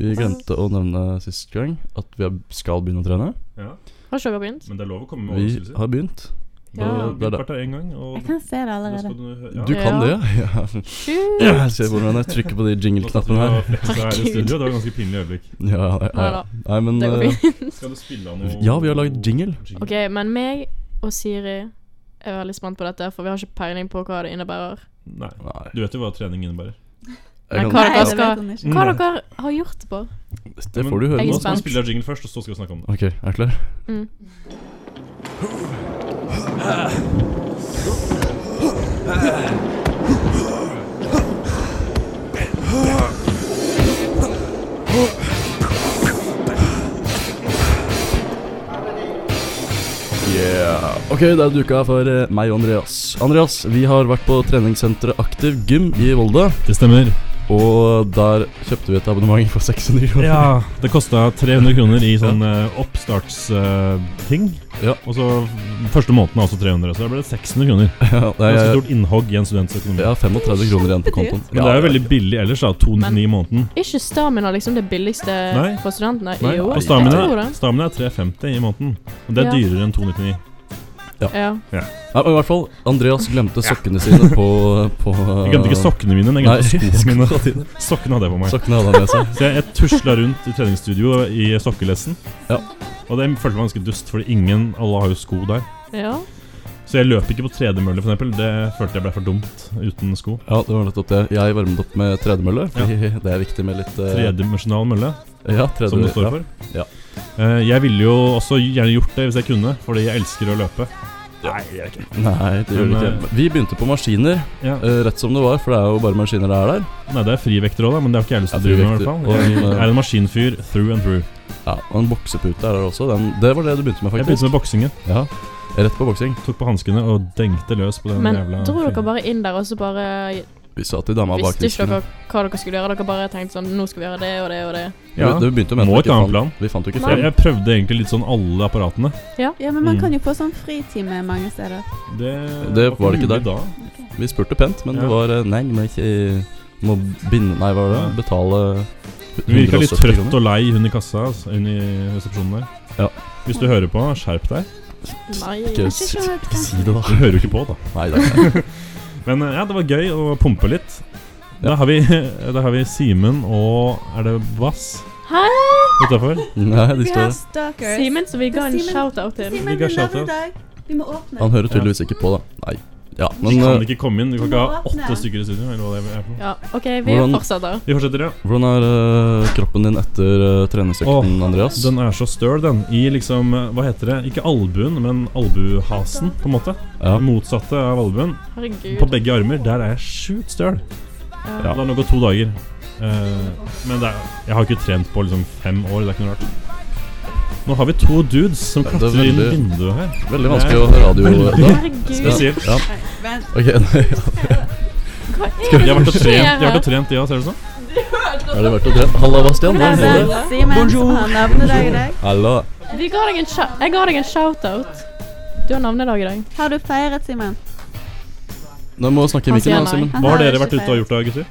Speaker 4: Vi glemte å nevne sist gang at vi er- skal begynne å trene.
Speaker 5: Ja.
Speaker 6: Har ikke dere begynt?
Speaker 5: Men det er lov å komme med
Speaker 4: Vi
Speaker 5: overraskelser.
Speaker 4: har begynt.
Speaker 5: Ja,
Speaker 6: Ja.
Speaker 5: det er det. En gang, og
Speaker 3: Jeg kan se det
Speaker 5: da skal
Speaker 3: allerede.
Speaker 5: du, hø- ja.
Speaker 4: Du kan det, ja. (laughs)
Speaker 6: Sju!
Speaker 4: ja. Jeg ser hvordan jeg trykker på de
Speaker 5: Nå satt du
Speaker 4: jingle-knappene
Speaker 5: og
Speaker 4: her.
Speaker 5: fleksa her i
Speaker 6: Herregud.
Speaker 5: studio, det var et ganske pinlig øyeblikk.
Speaker 4: Ja, ja, ja.
Speaker 6: Neida,
Speaker 4: Nei, men
Speaker 6: Det går
Speaker 4: uh,
Speaker 6: fint. (laughs)
Speaker 5: Skal du spille av noe
Speaker 4: Ja, vi har laget jingle.
Speaker 6: OK, men meg og Siri er veldig spent på dette, for vi har ikke peiling på hva det innebærer.
Speaker 5: Nei.
Speaker 4: Nei.
Speaker 5: Du vet jo hva trening innebærer.
Speaker 4: Jeg
Speaker 6: Men
Speaker 4: kan,
Speaker 6: hva
Speaker 3: Nei,
Speaker 6: dere
Speaker 3: det vet
Speaker 6: skal
Speaker 3: hun
Speaker 5: Mm.
Speaker 3: ikke.
Speaker 6: Hva dere har gjort på?
Speaker 4: det får du høre
Speaker 6: Jeg er
Speaker 4: nå.
Speaker 5: Nå skal
Speaker 6: spent.
Speaker 5: vi spille av jingle først, og så skal vi snakke om det.
Speaker 4: Ok, er du klar?
Speaker 6: Mm.
Speaker 4: Yeah. Ok, det er duka for eh, meg og Andreas. Andreas, vi har vært på treningssenteret Aktiv Gym i Volda.
Speaker 5: Det stemmer.
Speaker 4: Og der kjøpte vi et abonnement for 600 kroner.
Speaker 5: Ja, det kosta 300 kroner i sånn oppstartsting.
Speaker 4: Ja.
Speaker 5: Og så første måneden er også 300, så da ble det 600 kroner.
Speaker 4: (laughs) Ja, det
Speaker 5: Ganske
Speaker 4: er,
Speaker 5: stort innhogg i en students økonomi.
Speaker 4: jeg har 35 kroner igjen på kontoen.
Speaker 5: Men det er jo veldig billig ellers, da. 299 i måneden.
Speaker 6: Ikke Stamina liksom det billigste
Speaker 5: Nei.
Speaker 6: for studentene?
Speaker 5: Nei,
Speaker 6: jo,
Speaker 5: og
Speaker 6: jeg tror
Speaker 5: stamina,
Speaker 6: det.
Speaker 5: stamina er 350 i måneden. Og det er
Speaker 6: Ja.
Speaker 5: dyrere enn 299.
Speaker 6: Ja.
Speaker 4: Nei, men i hvert fall, Andreas glemte sokkene sine på,
Speaker 5: (laughs)
Speaker 4: på
Speaker 5: Jeg glemte ikke sokkene mine, men jeg
Speaker 4: Ah. Nei,
Speaker 5: glemte skoene mine.
Speaker 4: (laughs) skoene dine.
Speaker 5: Sokkene hadde jeg på meg.
Speaker 4: Sokkene hadde han med seg.
Speaker 5: Så jeg, jeg tusla rundt i treningsstudio i sokkelessen.
Speaker 4: Ja.
Speaker 5: Og det følte meg ganske dust, fordi ingen Alle har jo sko der.
Speaker 6: ja.
Speaker 5: Så jeg løp ikke på tredemølle, for eksempel. Det følte jeg ble for dumt uten sko.
Speaker 4: Ja, det var nettopp det. Jeg varmet opp med tredemølle. fordi Det er viktig med litt eh,
Speaker 5: Tredimensjonal mølle,
Speaker 4: Ja, tredje,
Speaker 5: som det står
Speaker 4: ja.
Speaker 5: for. Eh, Jeg ville jo også gjerne gjort det hvis jeg kunne, fordi jeg elsker å løpe. Nei, det gjør jeg ikke.
Speaker 4: Nei, det gjør det
Speaker 5: Men,
Speaker 4: ikke. Vi begynte på maskiner,
Speaker 5: Ja.
Speaker 4: eh, rett som det var, for det er jo bare maskiner det er der.
Speaker 5: Nei, det er frivekter òg, da, men det har ikke jeg lyst til
Speaker 4: Ja,
Speaker 5: å drive med. i
Speaker 4: frivekter.
Speaker 5: hvert
Speaker 4: Og,
Speaker 5: fall Jeg
Speaker 4: eh,
Speaker 5: er en maskinfyr through and through.
Speaker 4: Ja, Og en boksepute er der også. Den, det var det du begynte med,
Speaker 5: Jeg
Speaker 4: faktisk.
Speaker 5: begynte med boksingen,
Speaker 4: Ja, Rett på boksing.
Speaker 5: tok på hanskene og dengte løs på den
Speaker 6: Men
Speaker 5: jævla
Speaker 6: dro dere
Speaker 5: fyren.
Speaker 6: bare inn der og så bare
Speaker 4: Vi sa til dama bak
Speaker 6: visste ikke
Speaker 4: disken
Speaker 6: dere hva dere skulle gjøre? Dere bare tenkte sånn Nå skal vi gjøre det og det og det.
Speaker 5: Ja.
Speaker 4: Det vi begynte med at
Speaker 5: Må
Speaker 4: vi ikke
Speaker 5: ikke ha en
Speaker 4: fant-
Speaker 5: plan.
Speaker 4: Vi fant jo ikke
Speaker 6: Nei.
Speaker 5: Jeg,
Speaker 4: frem.
Speaker 5: jeg prøvde egentlig litt sånn alle apparatene.
Speaker 3: Ja, men man
Speaker 5: Mm.
Speaker 3: kan jo få sånn fritime mange steder.
Speaker 5: Det,
Speaker 4: Det var det ikke
Speaker 5: mulig
Speaker 4: der. Vi spurte pent, men
Speaker 5: Ja.
Speaker 4: det var eh, Nei, men ikke eh, Må binde Nei, hva var det? Betale
Speaker 5: Hun virka litt
Speaker 4: 170
Speaker 5: trøtt
Speaker 4: kroner.
Speaker 5: og lei, hun i kassa. altså, Hun i resepsjonen der.
Speaker 4: Ja.
Speaker 5: Hvis du hører på, skjerp deg.
Speaker 6: Nei.
Speaker 4: Ikke
Speaker 3: Jeg
Speaker 4: s-
Speaker 3: synes ikke
Speaker 4: ikke
Speaker 3: det
Speaker 4: si det, da.
Speaker 5: Du hører jo ikke på, da.
Speaker 4: Nei, det er ikke
Speaker 5: Men eh, ja, det var gøy å pumpe litt. Da har vi, (laughs) da har vi Simen og Er det Vass
Speaker 6: Hæ?
Speaker 5: utafor?
Speaker 4: Nei, de
Speaker 3: Vi har
Speaker 4: står
Speaker 3: stalkers.
Speaker 6: Simen som vi ga en
Speaker 3: Simen-
Speaker 6: shout-out til.
Speaker 3: Simen, vi
Speaker 5: Vi ga
Speaker 3: navn
Speaker 5: shout-out.
Speaker 3: i dag. Vi må åpne.
Speaker 4: Han hører tydeligvis ikke på, da. Nei. Ja,
Speaker 5: Vi
Speaker 4: men
Speaker 5: kan
Speaker 4: eh,
Speaker 5: ikke komme inn. Vi kan
Speaker 3: Du må
Speaker 5: ikke ha åtte
Speaker 3: åpne.
Speaker 5: stykker i studio. Eller hva det er. for noe.
Speaker 6: Ja, OK, vi
Speaker 4: Hvordan-
Speaker 6: fortsetter.
Speaker 5: Vi fortsetter, ja.
Speaker 4: hvordan er eh, kroppen din etter eh, treningsøkten, Andreas?
Speaker 5: Den er så støl, den. I liksom eh, Hva heter det? Ikke albuen, men albuhasen, på en måte.
Speaker 4: Ja.
Speaker 5: Det Motsatte av albuen. På
Speaker 6: Herregud.
Speaker 5: begge armer. Der er jeg sjukt støl.
Speaker 6: Ja.
Speaker 5: Det har nå gått to dager. Eh, men det er, jeg har ikke trent på liksom fem år. Det er ikke noe rart. Nå har vi to dudes som
Speaker 4: Ja, det er
Speaker 5: klatrer inn
Speaker 4: veldig-
Speaker 5: vinduet her.
Speaker 4: Veldig vanskelig å ha radio da.
Speaker 6: Herregud.
Speaker 5: Spesielt.
Speaker 4: Ja.
Speaker 3: Nei, vent.
Speaker 4: Ok, (laughs) ja.
Speaker 6: Hva
Speaker 5: De
Speaker 6: er
Speaker 5: har
Speaker 6: det
Speaker 5: vært og
Speaker 6: som skjer
Speaker 5: trent, de har vært og
Speaker 6: her?
Speaker 5: trent, de òg, ser sånn? det ut som.
Speaker 4: Er det verdt å trene? Halla, Bastian.
Speaker 3: Det er
Speaker 4: hvordan går det?
Speaker 3: vel Simen som har navnedag i dag.
Speaker 4: Hallo.
Speaker 6: Vi ga deg en shou- Jeg ga deg en shout-out. Du har navnedag i dag.
Speaker 3: Har du feiret, Simen?
Speaker 4: Nå må du snakke i
Speaker 6: Han
Speaker 4: mikken,
Speaker 6: sier
Speaker 4: da, Simen.
Speaker 3: Han
Speaker 5: Hva har
Speaker 3: har
Speaker 5: dere
Speaker 3: ikke
Speaker 5: vært ute og gjort da, gutter?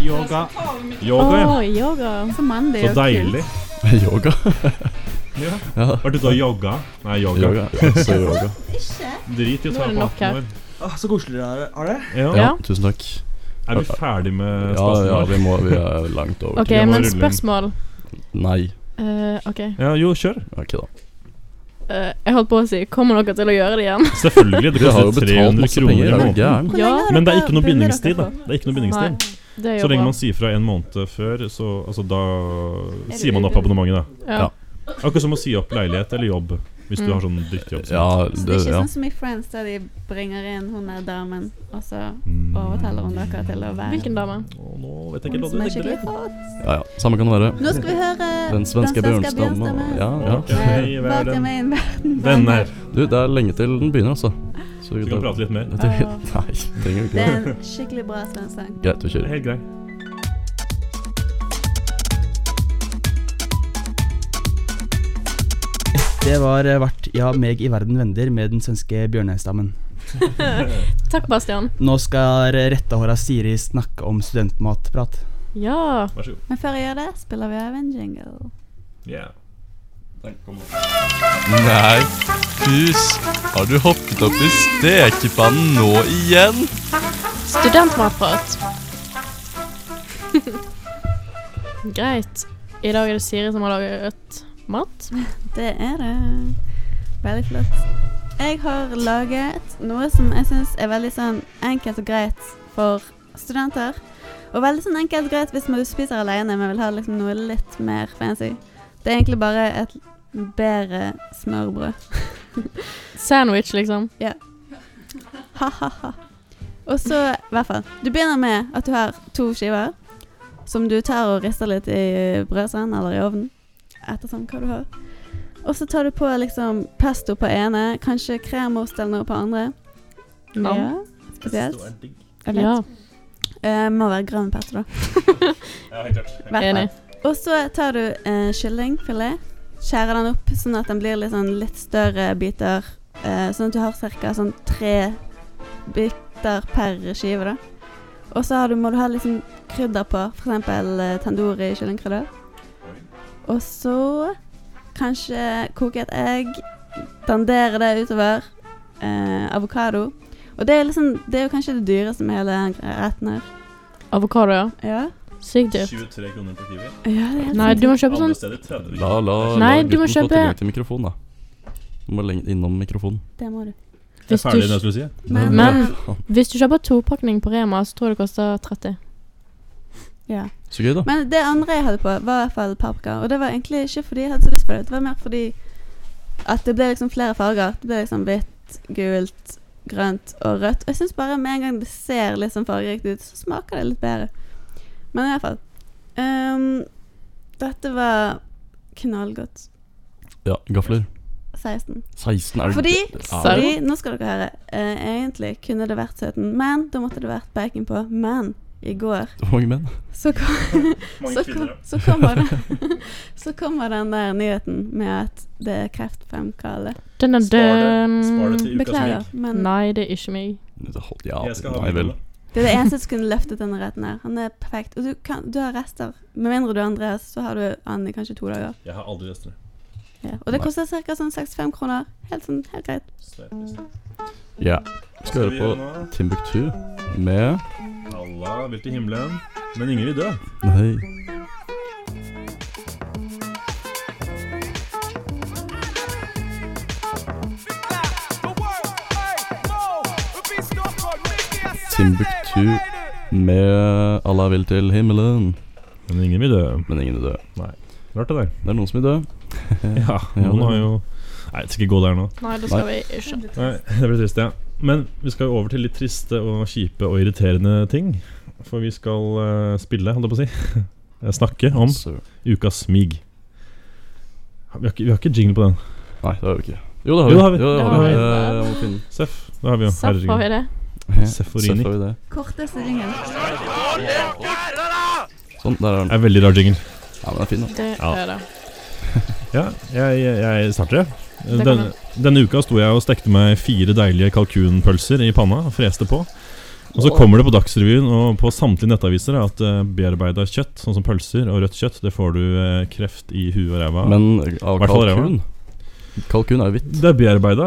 Speaker 5: Yoga.
Speaker 6: Å,
Speaker 5: Yoga, ja.
Speaker 6: yoga.
Speaker 3: Så mandig
Speaker 5: Så
Speaker 3: og kult.
Speaker 5: deilig.
Speaker 4: (laughs) Yoga.
Speaker 5: Ja.
Speaker 4: Ja.
Speaker 5: Vært ute og jogga. Nei, yoga.
Speaker 4: Yoga. Ja, så yoga.
Speaker 5: Drit i å
Speaker 6: Nå
Speaker 5: ta
Speaker 6: er det
Speaker 5: på
Speaker 6: nok her.
Speaker 5: 18 år.
Speaker 9: så koselig dere er. det?
Speaker 6: Ja.
Speaker 5: Ja.
Speaker 4: Ja, tusen takk.
Speaker 5: Er vi ferdig med
Speaker 2: eh,
Speaker 4: Ja,
Speaker 5: spasen
Speaker 4: ja,
Speaker 5: vår?
Speaker 4: vi må Vi er langt over.
Speaker 6: (laughs) OK,
Speaker 5: Jeg må
Speaker 6: men
Speaker 5: rulle inn.
Speaker 6: spørsmål.
Speaker 4: Nei.
Speaker 6: Eh, OK.
Speaker 5: Ja, jo, kjør.
Speaker 4: Ok, da.
Speaker 6: Eh, jeg holdt på å si Kommer dere til å gjøre det igjen?
Speaker 5: Selvfølgelig. Det
Speaker 4: Vi har jo
Speaker 5: koster
Speaker 4: betalt
Speaker 5: 300
Speaker 4: masse
Speaker 5: kroner
Speaker 4: penger.
Speaker 5: i
Speaker 4: Er du
Speaker 5: måneden.
Speaker 4: gæren?
Speaker 3: Hvor
Speaker 6: Ja.
Speaker 3: lenge har
Speaker 5: Men det er
Speaker 3: dere-
Speaker 5: ikke noe
Speaker 3: begynner dere
Speaker 5: bindingstid, da.
Speaker 3: på?
Speaker 5: Det er ikke noe bindingstid.
Speaker 6: det er jo
Speaker 5: Så lenge
Speaker 6: bra.
Speaker 5: man sier fra en måned før, så altså, da sier man opp abonnementet, da.
Speaker 6: ja.
Speaker 5: Akkurat som å si opp leilighet eller jobb, hvis du
Speaker 6: Mm.
Speaker 5: har sånn drittjobb. som-
Speaker 3: Så
Speaker 4: Ja,
Speaker 3: det
Speaker 4: det,
Speaker 3: er ikke
Speaker 4: ja.
Speaker 3: sånn som i Friends, der de bringer inn hun der damen, og så
Speaker 5: Mm.
Speaker 3: overtaler hun dere til å være
Speaker 6: Hvilken dame?
Speaker 5: Å, nå vet jeg ikke
Speaker 3: hun
Speaker 5: hva du
Speaker 3: som er
Speaker 5: tenkte.
Speaker 3: skikkelig
Speaker 5: det.
Speaker 3: hot.
Speaker 4: ja, ja. Samme kan det være.
Speaker 3: Nå skal vi høre
Speaker 4: Den svenske bjørnstammen. og- Ja, ja.
Speaker 5: Ok, i
Speaker 3: Eh, Bak
Speaker 5: verden.
Speaker 3: dem er en verden.
Speaker 5: Venner.
Speaker 4: Du, det er lenge til den begynner, altså. Så
Speaker 5: Så kan vi prate litt mer.
Speaker 4: Jeg trenger- Nei, trenger vi
Speaker 3: Det
Speaker 4: ikke.
Speaker 3: er en skikkelig bra svensk sang.
Speaker 4: Greit, vi kjører.
Speaker 5: Helt grei.
Speaker 9: Det var eh, vært Ja, meg i verden vender med den svenske bjørnestammen.
Speaker 6: Takk, Bastian.
Speaker 9: Nå skal rettahåra Siri snakke om studentmatprat.
Speaker 6: Ja.
Speaker 5: Vær så god.
Speaker 3: Men før jeg gjør det, spiller vi av en jingle.
Speaker 5: Yeah.
Speaker 2: Nei, pus. Har du hoppet opp i stekepannen nå igjen?
Speaker 6: Studentmatprat. (laughs) Greit. I dag er det Siri som har laget mat.
Speaker 3: Det er det. Veldig flott. Jeg har laget noe som jeg syns er veldig sånn enkelt og greit for studenter. Og veldig sånn enkelt greit hvis man spiser alene, men vil ha liksom noe litt mer fancy. Det er egentlig bare et bedre smørbrød.
Speaker 6: Sandwich, liksom.
Speaker 3: Ha-ha-ha. Og så, i hvert fall. Du begynner med at du har to skiver som du tar og rister litt i brødstein eller i ovnen. Ettersom hva du har. Og så tar du på liksom pesto på ene, kanskje kremost eller noe på andre.
Speaker 6: Nam.
Speaker 3: Ja, spesielt. Jeg vet.
Speaker 6: Ja.
Speaker 3: Eh, må være grønn pesto, da. Hvert fall.
Speaker 6: Enig.
Speaker 3: Og så tar du eh, kyllingfilet. Skjærer den opp sånn at den blir litt, sånn, litt større biter. Eh, sånn at du har ca. Sånn tre biter per skive. da. Og så har du, må du ha litt sånn krydder på, f.eks. Eh, tandoori kyllingkrydder. Og så kanskje koke et egg, dandere det utover. Eh, Avokado. Og det er, liksom, det er jo kanskje det dyreste med hele den retten her.
Speaker 6: Avokado, ja.
Speaker 3: Ja,
Speaker 6: Sykt dyrt.
Speaker 5: 23 kroner på Kiwi.
Speaker 3: ja det er helt
Speaker 6: Nei, du må kjøpe sånn
Speaker 5: Andre steder 30.
Speaker 2: La, la,
Speaker 6: Nei,
Speaker 2: la
Speaker 6: du
Speaker 2: gutten
Speaker 6: må
Speaker 2: få
Speaker 6: kjøpe-
Speaker 2: tilgang til mikrofon, da. Du må lenge innom mikrofonen.
Speaker 3: Det må du.
Speaker 5: Jeg er
Speaker 6: Hvis du,
Speaker 5: ferdig, det jeg skulle si.
Speaker 3: Men,
Speaker 6: Men- hvis du kjøper topakning på Rema, så tror jeg det koster 30.
Speaker 3: ja.
Speaker 2: Så gøy, da.
Speaker 3: Men det andre jeg hadde på, var i hvert fall paprika. Og det var egentlig ikke fordi jeg hadde så lyst på det. Det var mer fordi at det ble liksom flere farger. Det ble liksom hvitt, gult, grønt og rødt. Og jeg syns bare med en gang det ser litt sånn fargerikt ut, så smaker det litt bedre. Men i hvert fall ehm, Dette var knallgodt.
Speaker 2: Ja, gafler.
Speaker 3: 16.
Speaker 2: 16 er det
Speaker 3: Fordi,
Speaker 2: Ja.
Speaker 3: fordi Nå skal dere høre. Eh, egentlig kunne det vært 17, men da måtte det vært bacon på. Men i går
Speaker 2: Hvor mange menn?
Speaker 3: så kom, så, kom, så, kommer den, (laughs) så kommer den der nyheten med at det er kreftfremkallende.
Speaker 6: Den er
Speaker 5: Spar det. Spar
Speaker 6: død.
Speaker 5: det til uka som
Speaker 3: Beklager,
Speaker 5: gikk.
Speaker 3: men
Speaker 6: Nei, det er ikke meg.
Speaker 2: Ja,
Speaker 5: Jeg skal ha
Speaker 2: nei vel.
Speaker 5: med
Speaker 3: det er det eneste som kunne løftet denne retten her. Han er perfekt. Og du, kan, du har rester. Med mindre du er Andreas, så har du han i kanskje to dager.
Speaker 5: Jeg har aldri rester.
Speaker 3: Ja. Og det
Speaker 2: Nei.
Speaker 3: koster ca. sånn 65 kroner. Helt sånn, helt greit.
Speaker 5: Så jeg har rester.
Speaker 2: Ja.
Speaker 5: Hva
Speaker 2: Skal høre på
Speaker 5: nå?
Speaker 2: Timbuktu med
Speaker 5: Allah vil til himmelen, men ingen vil dø.
Speaker 2: Nei. Timbuktu med Allah vil til himmelen.
Speaker 5: Men ingen vil dø.
Speaker 2: Men ingen er død.
Speaker 5: Rart det der.
Speaker 2: Det er noen som er død.
Speaker 5: Ja,
Speaker 2: det-
Speaker 5: noen har jo Nei, jeg skal ikke gå der nå.
Speaker 6: Nei, det
Speaker 2: skal
Speaker 6: skal vi ikke.
Speaker 5: Nei, (laughs) Det blir trist, ja. Men vi skal jo over til litt triste og kjipe og irriterende ting. For vi skal eh, spille, holdt jeg på å si. (laughs) Eh, Snakke om
Speaker 2: Så-
Speaker 5: ukas smig. Vi har, ikke, vi har ikke jingle på den.
Speaker 2: Nei, det har vi ikke. Jo, det har vi.
Speaker 5: Jo, det har vi.
Speaker 2: Jo, det
Speaker 6: Det
Speaker 2: har vi.
Speaker 6: har vi.
Speaker 2: Eh, jeg må finne-
Speaker 5: Seff, det har vi jo.
Speaker 6: Saff har vi
Speaker 5: Herregud.
Speaker 6: det.
Speaker 2: (laughs)
Speaker 5: Seforini.
Speaker 2: Seff har vi det.
Speaker 3: Korteste ringen.
Speaker 2: Sånn, der er den.
Speaker 5: Det er veldig rar jingle.
Speaker 2: Ja, men den er fin, da.
Speaker 6: Det
Speaker 5: Ja.
Speaker 6: er det.
Speaker 5: Ja, jeg, jeg, jeg starter, jeg.
Speaker 6: kan
Speaker 5: Denne, denne uka sto jeg og stekte meg fire deilige kalkunpølser i panna og freste på. Og så kommer det på Dagsrevyen og på samtlige nettaviser at uh, bearbeida kjøtt, sånn som pølser og rødt kjøtt, det får du eh, kreft i huet og ræva. av.
Speaker 2: Men eh, av
Speaker 5: Hvert fall
Speaker 2: kalkun Kalkun er jo hvitt.
Speaker 5: det er bearbeida.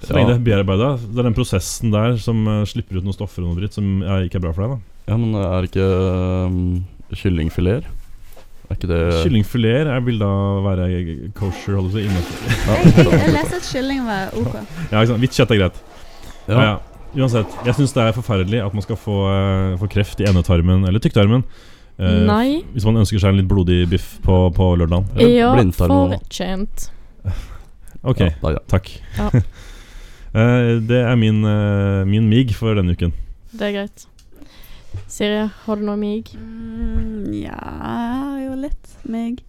Speaker 5: Så
Speaker 2: Ja.
Speaker 5: lenge det er bearbeida. Det er den prosessen der som eh, slipper ut noen stoffer og noe dritt som eh, ikke er bra for deg.
Speaker 2: Ja, men er det ikke um, kyllingfileter? Er ikke det
Speaker 5: da Kyllingfileter jeg vil da være kosher, holder jeg på å si. innenfor-
Speaker 3: Jeg, jeg, jeg leste at kylling var OK.
Speaker 5: (laughs) Ja, ikke sant. Hvitt kjøtt er greit.
Speaker 2: Ja.
Speaker 5: Ja. ja. Uansett, jeg syns det er forferdelig at man skal få, eh, få kreft i endetarmen eller tykktarmen. eh,
Speaker 6: Nei.
Speaker 5: Hvis man ønsker seg en litt blodig biff på, på lørdagen. Eller-
Speaker 6: Ja,
Speaker 2: blindtarmen nå.
Speaker 6: fortjent.
Speaker 5: Ok,
Speaker 2: Ja, da, ja.
Speaker 5: takk.
Speaker 6: Ja.
Speaker 5: (laughs) Eh, det er min, eh, min mig for denne uken.
Speaker 6: Det er greit. Siri, har du noe mig?
Speaker 3: Mm, ja jo, litt. Meg.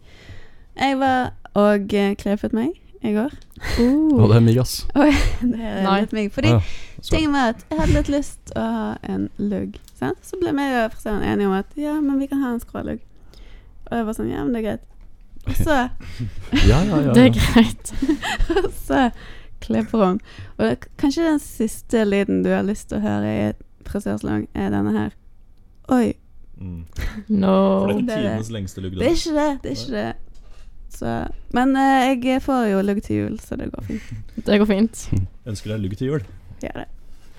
Speaker 3: Jeg var og eh, klefet meg i går.
Speaker 2: Ja, det er mig, ass.
Speaker 3: Det er
Speaker 6: Nei.
Speaker 3: litt meg. Fordi
Speaker 5: Ah,
Speaker 2: Ja, så-
Speaker 3: tingen var at jeg hadde litt lyst å ha en lugg. Sant? Så ble vi og frisøren enige om at ja, men vi kan ha en skrålugg. Og jeg var sånn ja, men det er greit. Og så, (laughs)
Speaker 2: Ja, ja, ja.
Speaker 6: Uh,
Speaker 2: ja.
Speaker 6: Det er greit.
Speaker 3: og så klipper hun. Og det, er kanskje den siste lyden du har lyst til å høre i et frisørsalong, er denne her. Oi.
Speaker 5: Mm. For
Speaker 6: No.
Speaker 5: det er
Speaker 3: Det
Speaker 5: ikke
Speaker 3: er det.
Speaker 5: tidenes lengste lugg.
Speaker 3: Det er
Speaker 5: da.
Speaker 3: ikke det. Det er ikke det. Så, men eh, jeg får jo lugg til jul, så det går fint.
Speaker 6: Det går fint.
Speaker 5: Ønsker deg lugg til jul.
Speaker 3: Gjør det.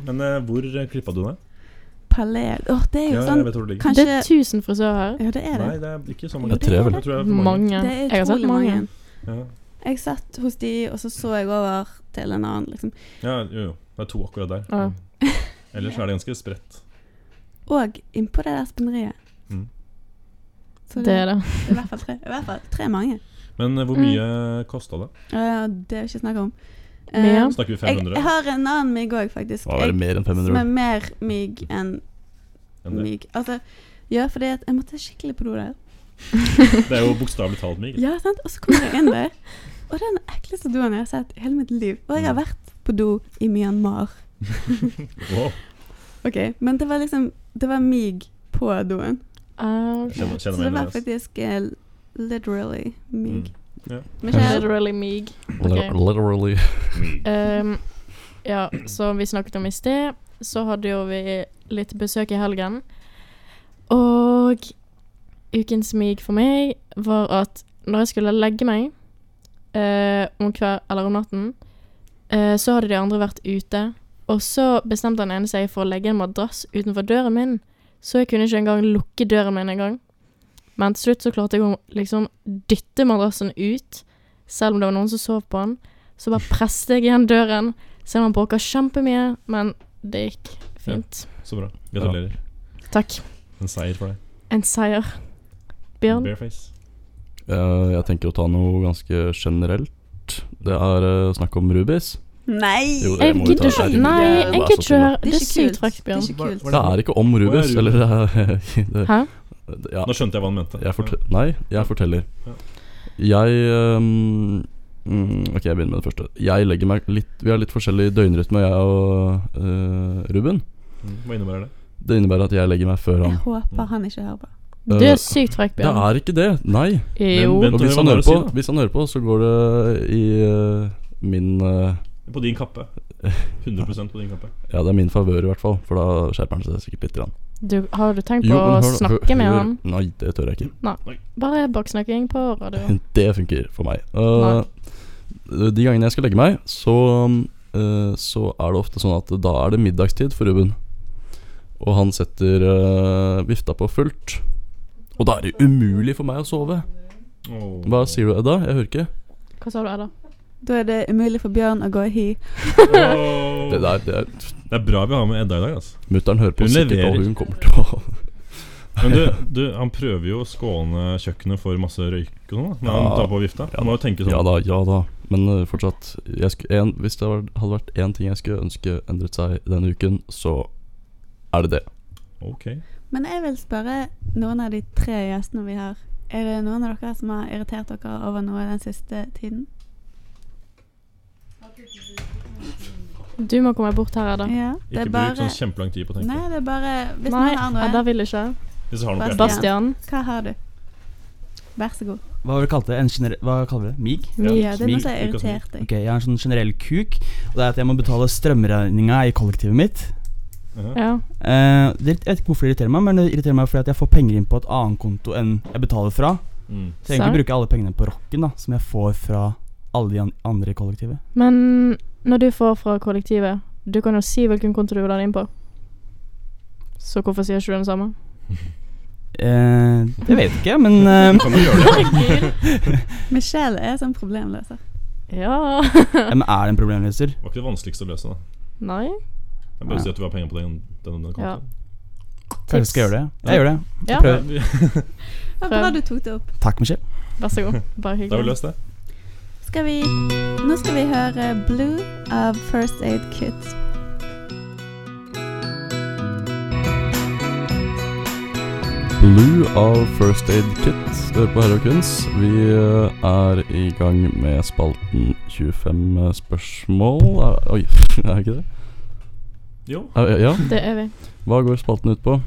Speaker 5: Men eh, hvor eh, klippa du deg?
Speaker 3: Palel Åh, det er jo
Speaker 5: Ja, jeg
Speaker 3: sånn
Speaker 5: vet hvor det ligger.
Speaker 3: Kanskje
Speaker 6: Det er 1000 frisører her.
Speaker 3: Ja, det er det.
Speaker 5: Nei, det er ikke så mange.
Speaker 2: Jeg tror vel.
Speaker 5: Jeg tror det er for mange.
Speaker 6: Mange.
Speaker 3: Det er
Speaker 6: Jeg har sett
Speaker 3: utrolig mange.
Speaker 6: mange.
Speaker 5: Ja.
Speaker 3: Jeg satt hos de, og så så jeg over til en annen, liksom.
Speaker 5: ja, jo, jo. Det er to akkurat der.
Speaker 6: Ja.
Speaker 5: Ellers er det ganske spredt.
Speaker 3: og innpå det der spenneriet.
Speaker 5: Mm.
Speaker 3: Så
Speaker 6: Det er det.
Speaker 3: I hvert fall tre, i hvert fall tre mange.
Speaker 5: Men eh, hvor mye kosta det?
Speaker 3: Eh, det er jo ikke snakk om. Eh,
Speaker 6: Mer?
Speaker 5: Snakker vi
Speaker 3: jeg, jeg
Speaker 5: 500?
Speaker 3: har en annen mygg òg, faktisk.
Speaker 4: Da er
Speaker 3: Jeg-
Speaker 4: det mer enn
Speaker 3: Som er
Speaker 4: 500.
Speaker 3: mer mygg enn
Speaker 5: enn det?
Speaker 3: mygg. Altså, ja, fordi at jeg måtte skikkelig på do der.
Speaker 5: Det er jo bokstavelig talt
Speaker 3: (laughs)
Speaker 5: mye.
Speaker 3: Ja, sant? Og så kommer jeg inn der. Og det er den ekleste doen jeg har sett i hele mitt liv. Og jeg
Speaker 4: Mm.
Speaker 3: har vært på do i Myanmar.
Speaker 5: Wow.
Speaker 3: Ok, Men det var liksom Det var mygg på doen.
Speaker 6: Ah,
Speaker 5: Jeg Kjenner,
Speaker 3: Så
Speaker 5: kjenner
Speaker 3: det var
Speaker 5: meg igjen altså. Mm. i det.
Speaker 3: faktisk eh, literally mygg. Men
Speaker 6: okay.
Speaker 3: ikke-
Speaker 6: Literally mig.
Speaker 4: Li- Literally.
Speaker 6: Ehm, ja, som vi snakket om i sted, så hadde jo vi litt besøk i helgen. Og ukens mig for meg var at når jeg skulle legge meg eh, om kveld, eller om natten, eh, så hadde de andre vært ute. Og så bestemte han ene seg for å legge en madrass utenfor døren min, så jeg kunne ikke engang lukke døren min engang. Men til slutt så klarte jeg å liksom dytte madrassen ut, selv om det var noen som sov på den. Så bare presset jeg igjen døren, selv om han bråka kjempemye, men det gikk fint.
Speaker 5: Så bra. Gratulerer.
Speaker 6: Takk.
Speaker 5: En seier for deg.
Speaker 6: En seier. Bjørn?
Speaker 5: Bareface.
Speaker 4: Eh, jeg tenker å ta noe ganske generelt. Det er eh, snakk om rubies.
Speaker 3: Nei!
Speaker 4: Jo,
Speaker 6: Jeg
Speaker 4: må jo ta
Speaker 6: gidder ikke
Speaker 4: skjermen.
Speaker 6: Nei,
Speaker 4: Det er
Speaker 6: jeg
Speaker 4: bare
Speaker 6: gidder
Speaker 4: så
Speaker 6: ikke
Speaker 4: tull, da.
Speaker 6: høre. Det er sykt frekt,
Speaker 3: Det er
Speaker 6: Bjørn.
Speaker 3: ikke kult.
Speaker 4: Det er ikke om rubies,
Speaker 5: Hva er
Speaker 4: eller det er (laughs) det,
Speaker 6: Hæ?
Speaker 4: det- ja.
Speaker 5: Nå skjønte jeg hva han mente.
Speaker 4: jeg fortel, Nei, jeg forteller.
Speaker 5: Ja.
Speaker 4: Jeg ehm, mm, Ok, jeg begynner med det første. Jeg legger meg litt Vi har litt forskjellig døgnrytme, jeg og eh, Ruben.
Speaker 5: Mm, Hva innebærer det?
Speaker 4: Det innebærer at jeg legger meg før
Speaker 3: Jeg
Speaker 4: han.
Speaker 3: håper
Speaker 5: Mm.
Speaker 3: han ikke hører på.
Speaker 6: Du er sykt frekk,
Speaker 4: Øh, Det
Speaker 6: Bjørn.
Speaker 4: er ikke det, nei.
Speaker 6: Jo.
Speaker 5: Men-
Speaker 4: Og
Speaker 5: men-
Speaker 4: hvis
Speaker 5: hva
Speaker 4: han,
Speaker 5: er
Speaker 4: hører
Speaker 5: det å si
Speaker 4: på,
Speaker 5: da?
Speaker 4: hvis han hører på, så går det i eh, min eh,
Speaker 5: På din kappe. 100 på din kappe.
Speaker 4: Ja, det er min favør i hvert fall, for da skjerper han seg sikkert litt. Grann.
Speaker 6: Du, har du tenkt
Speaker 4: Jo,
Speaker 6: på
Speaker 4: men
Speaker 6: å
Speaker 4: hør da,
Speaker 6: snakke
Speaker 4: hør-
Speaker 6: med
Speaker 4: hør-
Speaker 6: han?
Speaker 4: Nei, det tør jeg ikke.
Speaker 6: Bare baksnakking på
Speaker 4: (laughs)
Speaker 6: radio.
Speaker 4: Det funker for meg. Uh, de gangene jeg skal legge meg, så, uh, så er det ofte sånn at da er det middagstid for Ruben. Og han setter uh, vifta på fullt. Og da er det umulig for meg å sove.
Speaker 5: Åh.
Speaker 4: Hva sier du, Edda? Jeg hører ikke.
Speaker 6: Hva sa du, Edda?
Speaker 3: Da er det umulig for Bjørn å gå i hi.
Speaker 5: Åh.
Speaker 4: Det der, det er
Speaker 5: Det er bra vi har med Edda i dag. Altså.
Speaker 4: Mutter'n hører på
Speaker 5: Hun
Speaker 4: sikkert, og
Speaker 5: leverer.
Speaker 4: hun kommer til
Speaker 5: (laughs)
Speaker 4: å
Speaker 5: Men du, du, han prøver jo å skåne kjøkkenet for masse røyk og sånn. da, Når
Speaker 4: Ja.
Speaker 5: han tar på vifta. Han må jo tenke sånn.
Speaker 4: Ja da, ja da. Men uh, fortsatt jeg sku, en, Hvis det var- hadde vært én ting jeg skulle ønske endret seg denne uken, så er det det.
Speaker 5: Ok.
Speaker 3: Men jeg vil spørre noen av de tre gjestene vi har. Er det noen av dere som har irritert dere over noe den siste tiden?
Speaker 6: Du må komme bort her, Edda.
Speaker 3: Ja, det
Speaker 5: Ikke
Speaker 3: er
Speaker 5: bruk
Speaker 3: bare
Speaker 5: sånn kjempelang tid på å tenke.
Speaker 3: Nei, det er bare Eh, Hvis
Speaker 6: Nei,
Speaker 3: noen har
Speaker 6: Edda
Speaker 3: noe,
Speaker 6: vil ikke.
Speaker 5: Hvis du har noe på hjertet.
Speaker 6: Bastian?
Speaker 3: hva har du? Vær så god.
Speaker 9: Hva var det kalt det? En gener- Hva kaller vi det? Mig?
Speaker 3: Ja, det er
Speaker 9: Mig.
Speaker 3: noe som har irritert deg.
Speaker 9: Ok, Jeg har en sånn generell kuk. Og det er at jeg må betale strømregninga i kollektivet mitt.
Speaker 5: Ja.
Speaker 6: Ja.
Speaker 9: Eh, det, jeg vet ikke hvorfor det irriterer meg, men det irriterer meg fordi at jeg får penger inn på et annet konto enn jeg betaler fra.
Speaker 5: Mm.
Speaker 9: Så egentlig
Speaker 6: Serr?
Speaker 9: bruker jeg alle pengene på rocken, da, som jeg får fra alle de an- andre i kollektivet.
Speaker 6: Men når du får fra kollektivet, du kan jo si hvilken konto du vil ha den inn på. Så hvorfor sier ikke du den samme?
Speaker 9: Eh, det vet jeg ikke, men eh,
Speaker 5: Kan du gjøre det?
Speaker 3: Michelle er sånn problemløser.
Speaker 6: (laughs) Ja.
Speaker 9: ja, men er det en problemløser?
Speaker 5: Det var ikke det vanskeligste å løse. da
Speaker 6: Nei.
Speaker 5: Jeg bare si at du har penger på den, den, den
Speaker 6: Ja.
Speaker 5: kontoen.
Speaker 9: Kanskje jeg skal gjøre det? Jeg gjør det.
Speaker 6: Ja,
Speaker 9: prøver.
Speaker 5: Vi-
Speaker 3: Det var bra du tok det opp.
Speaker 9: Takk, Michelle.
Speaker 6: vær så god. Bare
Speaker 5: Da har vi
Speaker 6: hyggelig.
Speaker 5: løst det.
Speaker 3: Skal vi Nå skal vi høre Blue av First Aid Kit.
Speaker 4: Blue av First Aid Kit. Du hører på Herre og Kunst. Vi eh, er i gang med spalten 25 spørsmål. Er, oi, (laughs) er det ikke det?
Speaker 5: Jo.
Speaker 4: Er, ja.
Speaker 6: Det er vi.
Speaker 4: Hva går spalten ut på?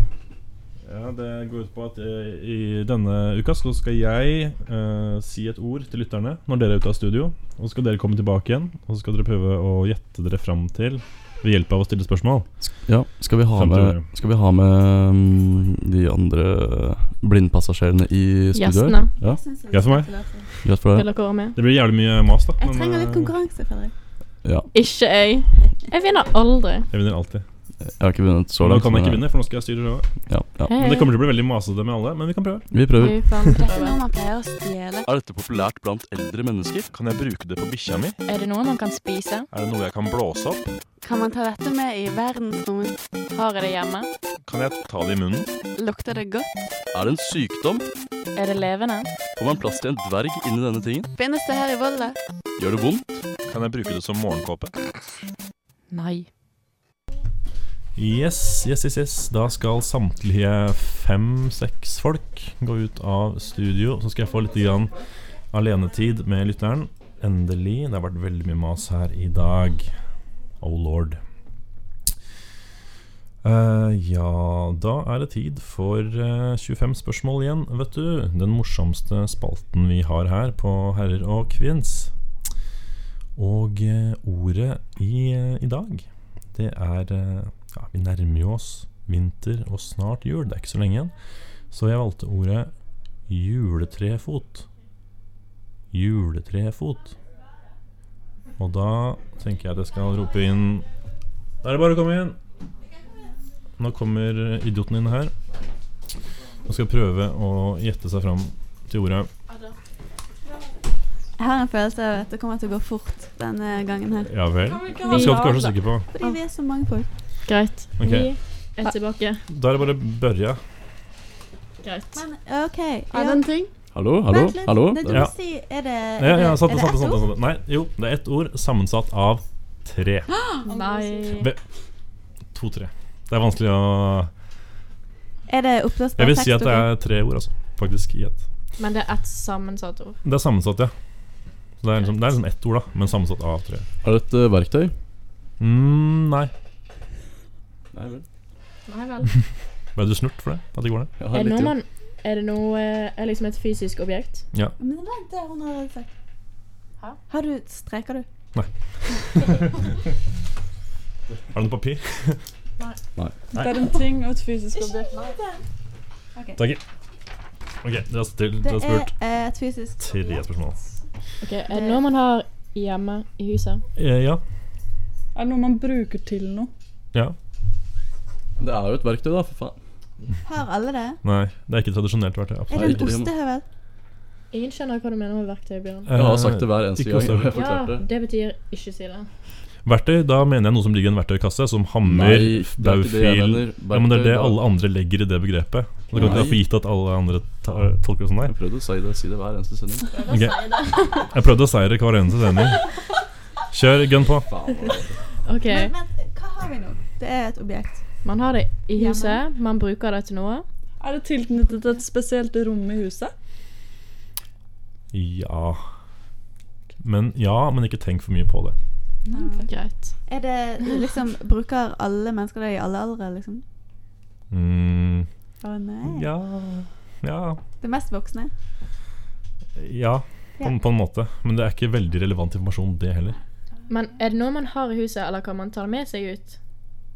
Speaker 5: Ja, Det går ut på at eh, i denne uka så skal jeg eh, si et ord til lytterne når dere er ute av studio. Og så skal dere komme tilbake igjen, og så skal dere prøve å gjette dere fram til ved hjelp av å stille spørsmål.
Speaker 4: Ja, skal vi ha
Speaker 5: Fem
Speaker 4: med,
Speaker 5: turer.
Speaker 4: skal vi ha med mm, de andre eh, blindpassasjerene i studio?
Speaker 6: Gjestene.
Speaker 4: Ja,
Speaker 5: Greit for meg.
Speaker 4: Greit for
Speaker 6: Vil
Speaker 4: deg.
Speaker 6: dere være med?
Speaker 5: Det blir jævlig mye mas, da.
Speaker 3: Jeg trenger
Speaker 5: eh,
Speaker 3: litt konkurranse, Fredrik.
Speaker 4: Ja,
Speaker 6: Ikke jeg. Jeg vinner aldri.
Speaker 5: jeg vinner alltid.
Speaker 4: jeg har ikke vunnet så
Speaker 5: nå
Speaker 4: langt.
Speaker 5: kan jeg
Speaker 4: men, eh,
Speaker 5: ikke vinne, for nå skal jeg styre showet.
Speaker 4: Ja, ja.
Speaker 5: Men det kommer til å bli veldig masete med alle, men vi kan prøve.
Speaker 4: Vi prøver.
Speaker 6: Fy faen,
Speaker 10: Det er
Speaker 6: prøve.
Speaker 10: ikke noe man pleier å stjele.
Speaker 4: Er dette populært blant eldre mennesker?
Speaker 5: Kan jeg bruke det på bikkja mi?
Speaker 6: Er det noe man kan spise?
Speaker 5: Er det noe jeg kan blåse opp?
Speaker 10: Kan man ta dette med i verdensrommet?
Speaker 6: Har jeg det hjemme?
Speaker 5: Kan jeg ta det i munnen?
Speaker 11: Lukter det godt?
Speaker 2: Er det en sykdom?
Speaker 11: Er det levende?
Speaker 2: Får man plass til en dverg inni denne tingen?
Speaker 11: Finnes det her i Volda?
Speaker 2: Gjør det vondt?
Speaker 5: Kan jeg bruke det som morgenkåpe?
Speaker 11: Nei.
Speaker 5: Yes, yes, yes, yes. Da skal samtlige fem-seks folk gå ut av studio. Så skal jeg få litt grann alenetid med lytteren. Endelig. Det har vært veldig mye mas her i dag. Oh lord. Eh, ja, da er det tid for eh, 25 spørsmål igjen, vet du. Den morsomste spalten vi har her på Herrer og kvinns. Og eh, ordet i, eh, i dag, det er eh, ja, Vi nærmer jo oss vinter og snart jul. Det er ikke så lenge igjen. Så jeg valgte ordet juletrefot. Juletrefot. Og da tenker jeg at jeg skal rope inn Da er det bare å komme inn. Nå kommer idioten inn her. Og skal prøve å gjette seg fram til ordet.
Speaker 3: Jeg har en følelse av at det kommer til å gå fort denne gangen her.
Speaker 5: Ja vel?
Speaker 6: Vi-
Speaker 5: Det skal du ikke være så sikker på.
Speaker 3: Fordi vi er så mange folk.
Speaker 6: Greit.
Speaker 5: Ok.
Speaker 6: Vi er tilbake.
Speaker 5: Da er det bare Børja.
Speaker 6: Greit.
Speaker 3: Men OK. Ja,
Speaker 6: Er det en ting?
Speaker 2: Hallo, hallo,
Speaker 3: vent litt.
Speaker 2: hallo?
Speaker 3: Det du
Speaker 5: Ja.
Speaker 3: si, er det, er
Speaker 5: Ja, ja,
Speaker 3: det-
Speaker 5: sant
Speaker 3: er det
Speaker 5: det, sant det,
Speaker 3: Eh, ett
Speaker 5: sant det,
Speaker 3: ord?
Speaker 5: sant det. Nei, jo, det er ett ord sammensatt av tre.
Speaker 3: (gasps)
Speaker 6: Nei.
Speaker 5: To-tre. Det er vanskelig å
Speaker 3: Er det oppblåsbar
Speaker 5: Jeg vil si at det
Speaker 3: tekstord?
Speaker 5: er tre ord, altså. Faktisk i ett.
Speaker 6: Men det er ett sammensatt ord.
Speaker 5: Det er sammensatt, ja. Så det er liksom, det er liksom ett ord, da, men sammensatt av tre.
Speaker 2: Er det et eh, verktøy?
Speaker 5: Mm, nei.
Speaker 2: Nei vel.
Speaker 6: Nei vel.
Speaker 5: Ble du snurt for det? At det går ned?
Speaker 6: Er det noe man Er det noe eh, Er liksom et fysisk objekt?
Speaker 3: Men vent, det har hun allerede sagt.
Speaker 6: Hæ?
Speaker 3: Har du Streker du?
Speaker 5: Har du noe papir? (laughs)
Speaker 7: Det er en ting og et fysisk objekt.
Speaker 5: Ok, dere har
Speaker 3: Det
Speaker 5: stilt dere har spurt
Speaker 3: er eh, et fysisk
Speaker 5: tre spørsmål.
Speaker 6: Ok, Er det noe man har hjemme i huset?
Speaker 5: Eh, ja.
Speaker 7: Er det noe man bruker til noe?
Speaker 5: Ja.
Speaker 2: Det er jo et verktøy, da, for faen.
Speaker 3: Har alle det?
Speaker 5: Nei. Det er ikke tradisjonelt verktøy.
Speaker 3: Er
Speaker 5: Absolutt.
Speaker 3: det en
Speaker 2: ikke det, men-
Speaker 3: ostehøvel?
Speaker 6: Ingen skjønner hva du mener med verktøy, Bjørn.
Speaker 2: Jeg har sagt det hver
Speaker 5: Eh,
Speaker 2: eneste
Speaker 5: ikke
Speaker 2: gang.
Speaker 5: ostehøvel.
Speaker 2: og (laughs) Jeg
Speaker 6: Ja,
Speaker 2: forklarte det.
Speaker 6: det betyr ikke si det.
Speaker 5: Eh, Verktøy, da mener jeg noe som ligger i en verktøykasse, som hammer,
Speaker 2: Nei, det er ikke det jeg
Speaker 5: baufil
Speaker 2: mener.
Speaker 5: Ja, men det er det
Speaker 2: da-
Speaker 5: alle andre legger i det begrepet. Og det kan ikke
Speaker 2: Nei.
Speaker 5: være for gitt at alle andre ta, tolker det sånn der.
Speaker 2: Jeg prøvde å si det, si det hver eneste sending.
Speaker 5: Ok. Jeg prøvde å seire hver eneste sending. Kjør, gønn på.
Speaker 2: altså.
Speaker 6: Ok,
Speaker 3: Men vent, hva har vi nå? Det er et objekt.
Speaker 6: Man har det i huset, man bruker det til noe.
Speaker 7: Er det tilknyttet et spesielt rom i huset?
Speaker 5: Ja. Men ja, men ikke tenk for mye på det.
Speaker 3: Mm.
Speaker 6: Greit.
Speaker 3: Er det liksom Bruker alle mennesker det i alle aldre, liksom?
Speaker 5: Mm,
Speaker 3: Å nei.
Speaker 5: ja Ja.
Speaker 3: Det mest voksne.
Speaker 5: ja på, en- på en måte. Men det er ikke veldig relevant informasjon, det heller.
Speaker 6: Men er det noe man har i huset, eller kan man ta det med seg ut?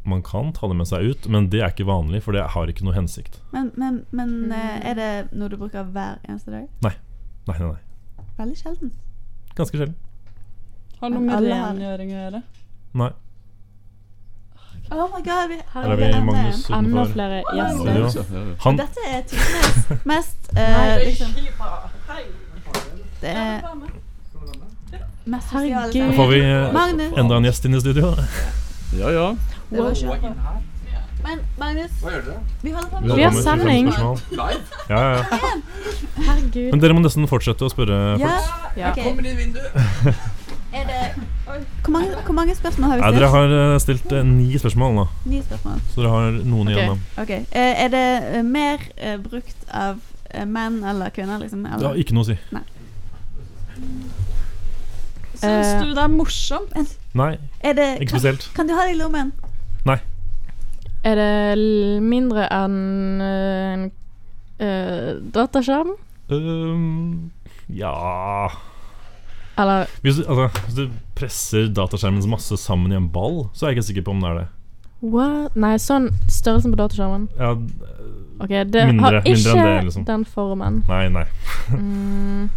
Speaker 5: Man kan ta det med seg ut, men det er ikke vanlig, for det har ikke noe hensikt.
Speaker 3: Men, men, men eh, er det noe du bruker hver eneste dag?
Speaker 5: Nei, nei, nei.
Speaker 3: Veldig sjelden.
Speaker 5: Ganske sjelden.
Speaker 7: Har det noe med
Speaker 3: Alle har-
Speaker 7: rengjøring å gjøre?
Speaker 5: Nei.
Speaker 3: Oh my god, vi
Speaker 5: Her er
Speaker 3: det
Speaker 5: vi
Speaker 3: enda en.
Speaker 5: Magnus
Speaker 6: Enda
Speaker 5: utenfor.
Speaker 6: flere
Speaker 2: Ja,
Speaker 6: gjester.
Speaker 2: ja,
Speaker 5: Ja.
Speaker 2: ja.
Speaker 5: Han
Speaker 3: Dette er tidenes mest eh, liksom, Det er mest sosiale
Speaker 6: Herregud.
Speaker 5: Nå får vi eh,
Speaker 3: Magnus,
Speaker 5: enda en gjest inn i studio.
Speaker 2: ja, ja.
Speaker 3: det var ikke Men Magnus, vi holder på
Speaker 6: Vi
Speaker 3: med
Speaker 6: har
Speaker 5: Velkommen til
Speaker 6: sending.
Speaker 5: Spørsmål. Ja, ja, ja.
Speaker 6: Herregud.
Speaker 5: Men dere må nesten fortsette å spørre
Speaker 3: Ja,
Speaker 5: folk.
Speaker 6: Ja.
Speaker 3: ok.
Speaker 5: (laughs)
Speaker 3: Er det hvor mange, hvor mange spørsmål har vi
Speaker 5: Nei,
Speaker 3: stilt?
Speaker 5: dere har eh, stilt eh, ni spørsmål nå,
Speaker 3: Ni spørsmål.
Speaker 5: så dere har noen
Speaker 6: Ok.
Speaker 5: igjen.
Speaker 3: Ok. Eh, er det eh, mer eh, brukt av eh, menn eller kvinner, liksom?
Speaker 5: da. Det
Speaker 3: Eller?
Speaker 5: har ikke noe å si.
Speaker 7: Syns
Speaker 6: Eh.
Speaker 7: du det er morsomt?
Speaker 5: Nei,
Speaker 3: Er det,
Speaker 5: ikke
Speaker 3: kan,
Speaker 5: spesielt.
Speaker 3: kan du ha det i lommen?
Speaker 6: Er det l- mindre enn eh, en eh, dataskjerm?
Speaker 5: Øhm, ja
Speaker 6: Eller
Speaker 5: hvis du, altså, hvis du presser dataskjermens masse sammen i en ball, så er jeg ikke sikker på om det er det.
Speaker 6: what? Nei, sånn størrelsen på dataskjermen.
Speaker 5: Ja,
Speaker 6: Ok, det
Speaker 5: Mindre-
Speaker 6: har
Speaker 5: mindre
Speaker 6: ikke
Speaker 5: enn det, liksom.
Speaker 6: den formen.
Speaker 5: nei, nei.
Speaker 6: Mm,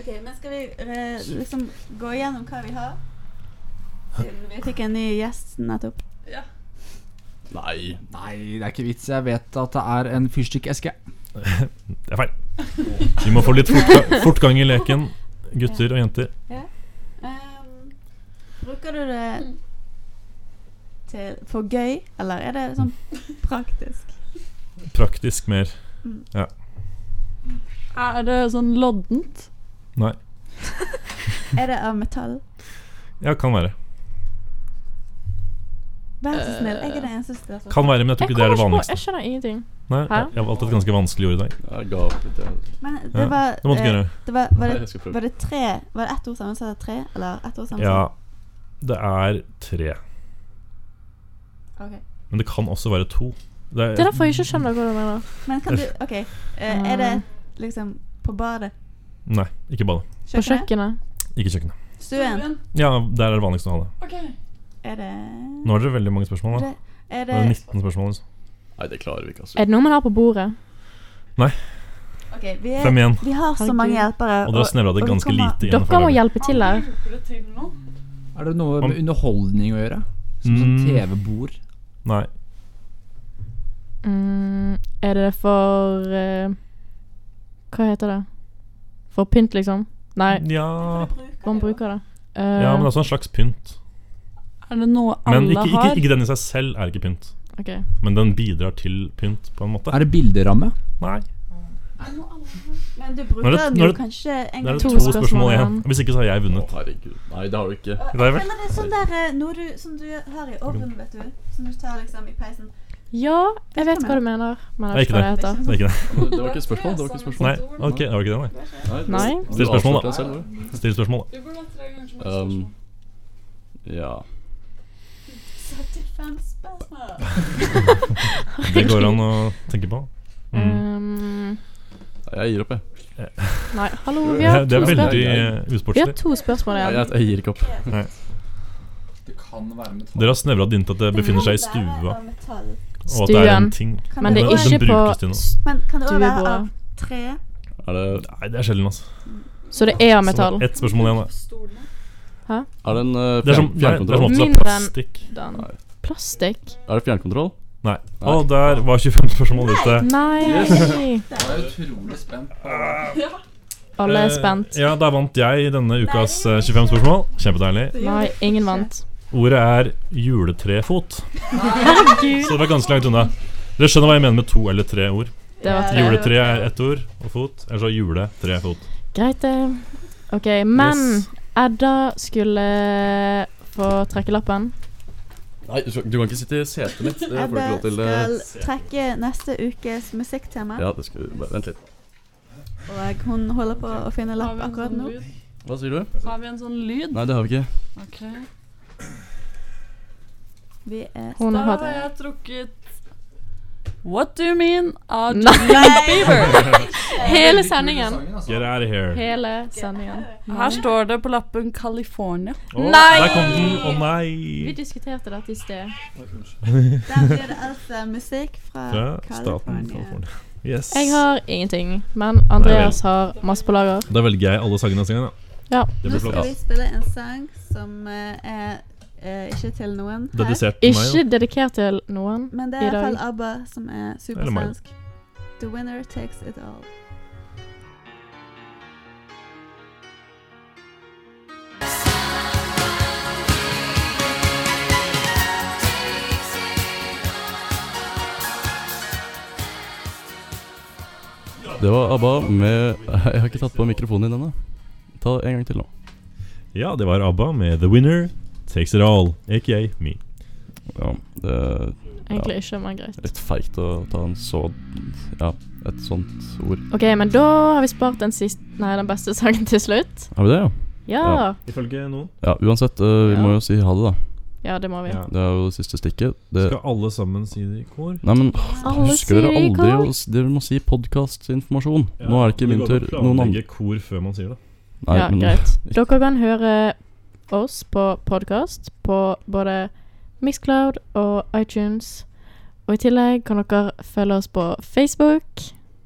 Speaker 3: Ok, men skal vi eh, liksom gå igjennom hva vi har? Siden vi fikk en ny gjest nettopp.
Speaker 2: Nei.
Speaker 12: Nei, det er ikke vits. Jeg vet at det er en fyrstikkeske.
Speaker 5: Det er feil. Vi må få litt fortga- fortgang i leken, gutter og jenter.
Speaker 3: Ehm, bruker du det til for gøy, eller er det sånn praktisk?
Speaker 5: Praktisk mer.
Speaker 3: Mm.
Speaker 5: Ja.
Speaker 7: Er det sånn loddent?
Speaker 5: Nei.
Speaker 3: Er det av metall?
Speaker 5: Ja, kan være.
Speaker 3: Vær så snill, jeg er den eneste som sånn. stiller spørsmål.
Speaker 5: Kan være, men jeg tror ikke det er det
Speaker 6: kommer ikke på-
Speaker 5: vanligste.
Speaker 6: Jeg skjønner ingenting.
Speaker 5: Nei,
Speaker 6: Hæ?
Speaker 5: jeg, jeg valgte et ganske vanskelig ord i dag.
Speaker 2: Jeg ga opp litt, jeg.
Speaker 3: Men
Speaker 5: Ja,
Speaker 3: det var,
Speaker 5: det må du ikke
Speaker 3: eh,
Speaker 5: gjøre.
Speaker 3: det var, var,
Speaker 2: Nei, jeg skal
Speaker 3: det,
Speaker 2: prøve.
Speaker 3: var det tre Var det ett ord sammensatt av tre, eller ett ord
Speaker 5: Ja,
Speaker 3: sammensatt?
Speaker 5: det er tre.
Speaker 3: Ja.
Speaker 5: Men det kan også være to. Det
Speaker 6: Det er derfor jeg ikke skjønner hva du mener.
Speaker 3: Men kan du OK, eh, er det liksom på badet?
Speaker 5: Nei, ikke badet.
Speaker 6: På
Speaker 3: Kjøkkenet?
Speaker 6: kjøkkenet.
Speaker 5: Ikke kjøkkenet.
Speaker 3: Stuen?
Speaker 5: Ja, der er det vanligst å ha det.
Speaker 3: Er det
Speaker 5: Nå er det veldig mange spørsmål. da
Speaker 3: det- Er
Speaker 5: Det er
Speaker 3: det
Speaker 5: 19 spørsmål. liksom.
Speaker 2: Nei, det klarer vi ikke, altså.
Speaker 6: Er det noe man har på bordet?
Speaker 3: OK, vi, er,
Speaker 5: Fem igjen.
Speaker 3: vi har så
Speaker 6: Herregud.
Speaker 3: mange hjelpere.
Speaker 5: Og dere har snevra det
Speaker 3: og vi
Speaker 5: ganske
Speaker 3: kommer-
Speaker 5: lite igjen.
Speaker 6: Dere må hjelpe til her.
Speaker 12: Er det noe
Speaker 5: Om-
Speaker 12: med underholdning å gjøre? Som sånn
Speaker 5: Mm.
Speaker 12: TV-bord?
Speaker 5: Nei.
Speaker 6: Mm, er det for eh, Hva heter det? For pynt, liksom? Nei,
Speaker 5: Ja,
Speaker 6: man bruker det. Eh,
Speaker 5: ja men altså- det er også en slags pynt.
Speaker 7: Er det noe alle
Speaker 5: Men ikke, ikke,
Speaker 7: har?
Speaker 5: ikke den i seg selv er ikke pynt.
Speaker 6: ok.
Speaker 5: Men den bidrar til pynt, på en måte.
Speaker 12: Er det bilderamme?
Speaker 5: Nei.
Speaker 3: Men du
Speaker 5: Nå er
Speaker 3: bruker
Speaker 5: det-
Speaker 3: den
Speaker 5: nå
Speaker 3: jo
Speaker 5: er det-
Speaker 3: kanskje en
Speaker 5: Det er
Speaker 3: gang
Speaker 5: det to
Speaker 6: To spørsmål
Speaker 5: spørsmål igjen.
Speaker 6: igjen.
Speaker 5: Hvis ikke så har jeg
Speaker 2: Å,
Speaker 5: vunnet.
Speaker 2: herregud. Nei, det har du ikke.
Speaker 5: Det er vel-
Speaker 3: Men det er sånn der eh, noe du, som du har i ovnen, vet du. Som du tar liksom i peisen.
Speaker 6: Ja, jeg vet hva du mener. Men jeg vet
Speaker 5: Det er ikke
Speaker 6: ikke hva det heter.
Speaker 5: Det er ikke det.
Speaker 2: Det var ikke et spørsmål. Det var ikke et spørsmål.
Speaker 5: Nei, ok, det var ikke det, nei.
Speaker 2: det-
Speaker 6: Nei.
Speaker 2: du
Speaker 5: Still spørsmål, da.
Speaker 2: avslørte deg selv, du.
Speaker 5: Still spørsmål, da.
Speaker 2: Um, ja.
Speaker 3: 75 spørsmål.
Speaker 5: Det går an å tenke på. Mm.
Speaker 6: Um,
Speaker 2: Jeg gir opp, jeg.
Speaker 6: nei, hallo, vi har
Speaker 5: Det
Speaker 6: to,
Speaker 5: er
Speaker 6: spør
Speaker 5: veldig
Speaker 2: spørsmål.
Speaker 5: eh,
Speaker 6: vi har
Speaker 5: usportslig.
Speaker 6: to spørsmål
Speaker 2: Jeg,
Speaker 6: igjen.
Speaker 2: jeg, jeg gir ikke opp.
Speaker 12: Det kan være metall.
Speaker 5: Dere har snevra det inn til at det befinner seg i
Speaker 3: Det må være
Speaker 5: stua.
Speaker 3: av metall.
Speaker 5: Og at det er en
Speaker 6: Stuen.
Speaker 5: ting.
Speaker 3: Kan
Speaker 6: Men det er
Speaker 5: Den- den
Speaker 6: ikke
Speaker 5: brukes
Speaker 6: på
Speaker 5: til noe.
Speaker 3: Men kan det også være av
Speaker 6: stuebordet.
Speaker 3: tre?
Speaker 2: Er det,
Speaker 5: Nei, det er sjelden, altså.
Speaker 6: Så det er av
Speaker 5: Så
Speaker 6: metall.
Speaker 5: Ett spørsmål igjen, da.
Speaker 2: er det en eh,
Speaker 5: Det er som,
Speaker 2: fjern,
Speaker 5: det er, det
Speaker 2: fjernkontroll?
Speaker 5: er som at det
Speaker 6: Mindre
Speaker 5: er
Speaker 6: enn-
Speaker 5: plastikk.
Speaker 6: Den. Plastikk?
Speaker 2: Er det fjernkontroll?
Speaker 5: Nei. Å, der var 25 spørsmål ute.
Speaker 6: Nei, nei.
Speaker 12: Jeg er utrolig spent.
Speaker 6: Alle er
Speaker 5: Eh,
Speaker 6: spent.
Speaker 5: Ja, da vant jeg denne ukas eh, 25 spørsmål. Kjempedeilig.
Speaker 6: Nei, ingen vant.
Speaker 5: Ordet er juletrefot.
Speaker 6: Herregud.
Speaker 5: Så det var ganske langt unna. Dere skjønner hva jeg mener med to eller tre ord.
Speaker 6: Det var tre.
Speaker 5: Juletre er ett ord, og fot. Eller så jule, tre, fot.
Speaker 6: Greit, det. OK, men
Speaker 5: Yes.
Speaker 6: Edda skulle få trekke lappen.
Speaker 2: Nei, du, skal- du kan ikke sitte i setet mitt. Det får du
Speaker 3: Ebbe
Speaker 2: ikke lov til. eh.
Speaker 3: skal trekke neste ukes musikktema,
Speaker 2: Ja, det skal vi bare, Vent litt.
Speaker 3: og hun holder på å finne
Speaker 7: Har
Speaker 3: lapp
Speaker 7: vi en
Speaker 3: akkurat
Speaker 7: sånn
Speaker 3: nå.
Speaker 7: lyd?
Speaker 2: Hva sier du?
Speaker 7: Har vi en sånn lyd?
Speaker 2: Nei, det har vi ikke.
Speaker 7: Ok.
Speaker 3: Vi er
Speaker 6: Hun
Speaker 7: Da har
Speaker 6: hadde
Speaker 7: jeg trukket What Do You Mean
Speaker 6: (laughs)
Speaker 7: av
Speaker 6: Nei.
Speaker 7: Justin Bieber.
Speaker 6: Hele sendingen.
Speaker 5: Get out of here.
Speaker 6: Hele sendingen. (laughs)
Speaker 7: Her står det på lappen California.
Speaker 5: Å,
Speaker 6: Nei!
Speaker 5: Der kom den. Å
Speaker 6: Vi
Speaker 5: nei.
Speaker 6: diskuterte dette i sted.
Speaker 3: Der blir det altså musikk
Speaker 5: Fra
Speaker 3: fra
Speaker 5: staten
Speaker 3: California.
Speaker 5: California. Yes.
Speaker 6: Jeg har ingenting, men Andreas har masse på lager.
Speaker 5: Da velger jeg alle sangene neste gang, da.
Speaker 6: Ja.
Speaker 5: Det
Speaker 3: Nå
Speaker 5: blir
Speaker 3: skal vi
Speaker 5: flott.
Speaker 3: spille en sang som eh, er eh, ikke til noen her,
Speaker 5: Dedisert til meg.
Speaker 6: Ikke dedikert til noen.
Speaker 3: men det
Speaker 6: i
Speaker 3: er i
Speaker 6: dag.
Speaker 3: hvert fall ABBA som er
Speaker 5: Eller meg.
Speaker 3: supersvensk. The winner takes it all.
Speaker 2: Det var ABBA med (laughs) Jeg har ikke tatt på mikrofonen din ennå. Ta en gang til nå.
Speaker 5: Ja, det var ABBA med The Winner Takes It All, aka me.
Speaker 2: Ja, det er
Speaker 6: Egentlig ikke, men greit.
Speaker 2: litt feigt å ta en så Ja, et sånt ord.
Speaker 6: OK, men da har vi spart den siste Nei, den beste sangen til slutt.
Speaker 2: Har vi det, ja?
Speaker 6: Ja.
Speaker 5: Ifølge noen
Speaker 2: Ja, uansett. eh, vi
Speaker 6: Ja.
Speaker 2: må jo si ha det, da.
Speaker 6: Ja, det må vi.
Speaker 5: ja.
Speaker 2: Det er jo det siste stikket. Det,
Speaker 5: Skal alle sammen si det i kor?
Speaker 2: nei, men
Speaker 6: Alle
Speaker 2: husker dere
Speaker 6: sier
Speaker 2: aldri
Speaker 6: kor.
Speaker 2: å s- Dere må si podkastinformasjon. Nå er det ikke min tur. Noen andre
Speaker 5: andre kor før man sier det.
Speaker 2: Nei,
Speaker 6: ja,
Speaker 2: men
Speaker 6: greit.
Speaker 2: (laughs)
Speaker 6: Dere kan høre oss på podkast på både Mixcloud og iTunes. Og i tillegg kan dere følge oss på Facebook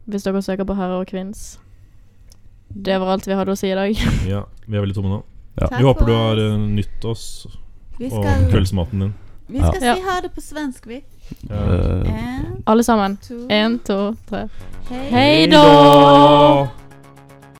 Speaker 6: hvis dere søker på Herrer og kvinns. Det var alt vi hadde å si i dag. (laughs)
Speaker 5: Ja, Vi er veldig tomme nå.
Speaker 2: Ja.
Speaker 3: Takk
Speaker 5: Vi håper
Speaker 3: for
Speaker 5: du har
Speaker 3: oss.
Speaker 5: eh, nytt oss
Speaker 3: Vi
Speaker 5: og
Speaker 3: skal,
Speaker 5: kveldsmaten din.
Speaker 3: vi skal
Speaker 6: Ja.
Speaker 3: si ha det på svensk, vi.
Speaker 5: Ja.
Speaker 2: eh,
Speaker 3: En,
Speaker 6: Alle sammen.
Speaker 3: to,
Speaker 6: Én, to, tre.
Speaker 3: hei.
Speaker 6: Hei da!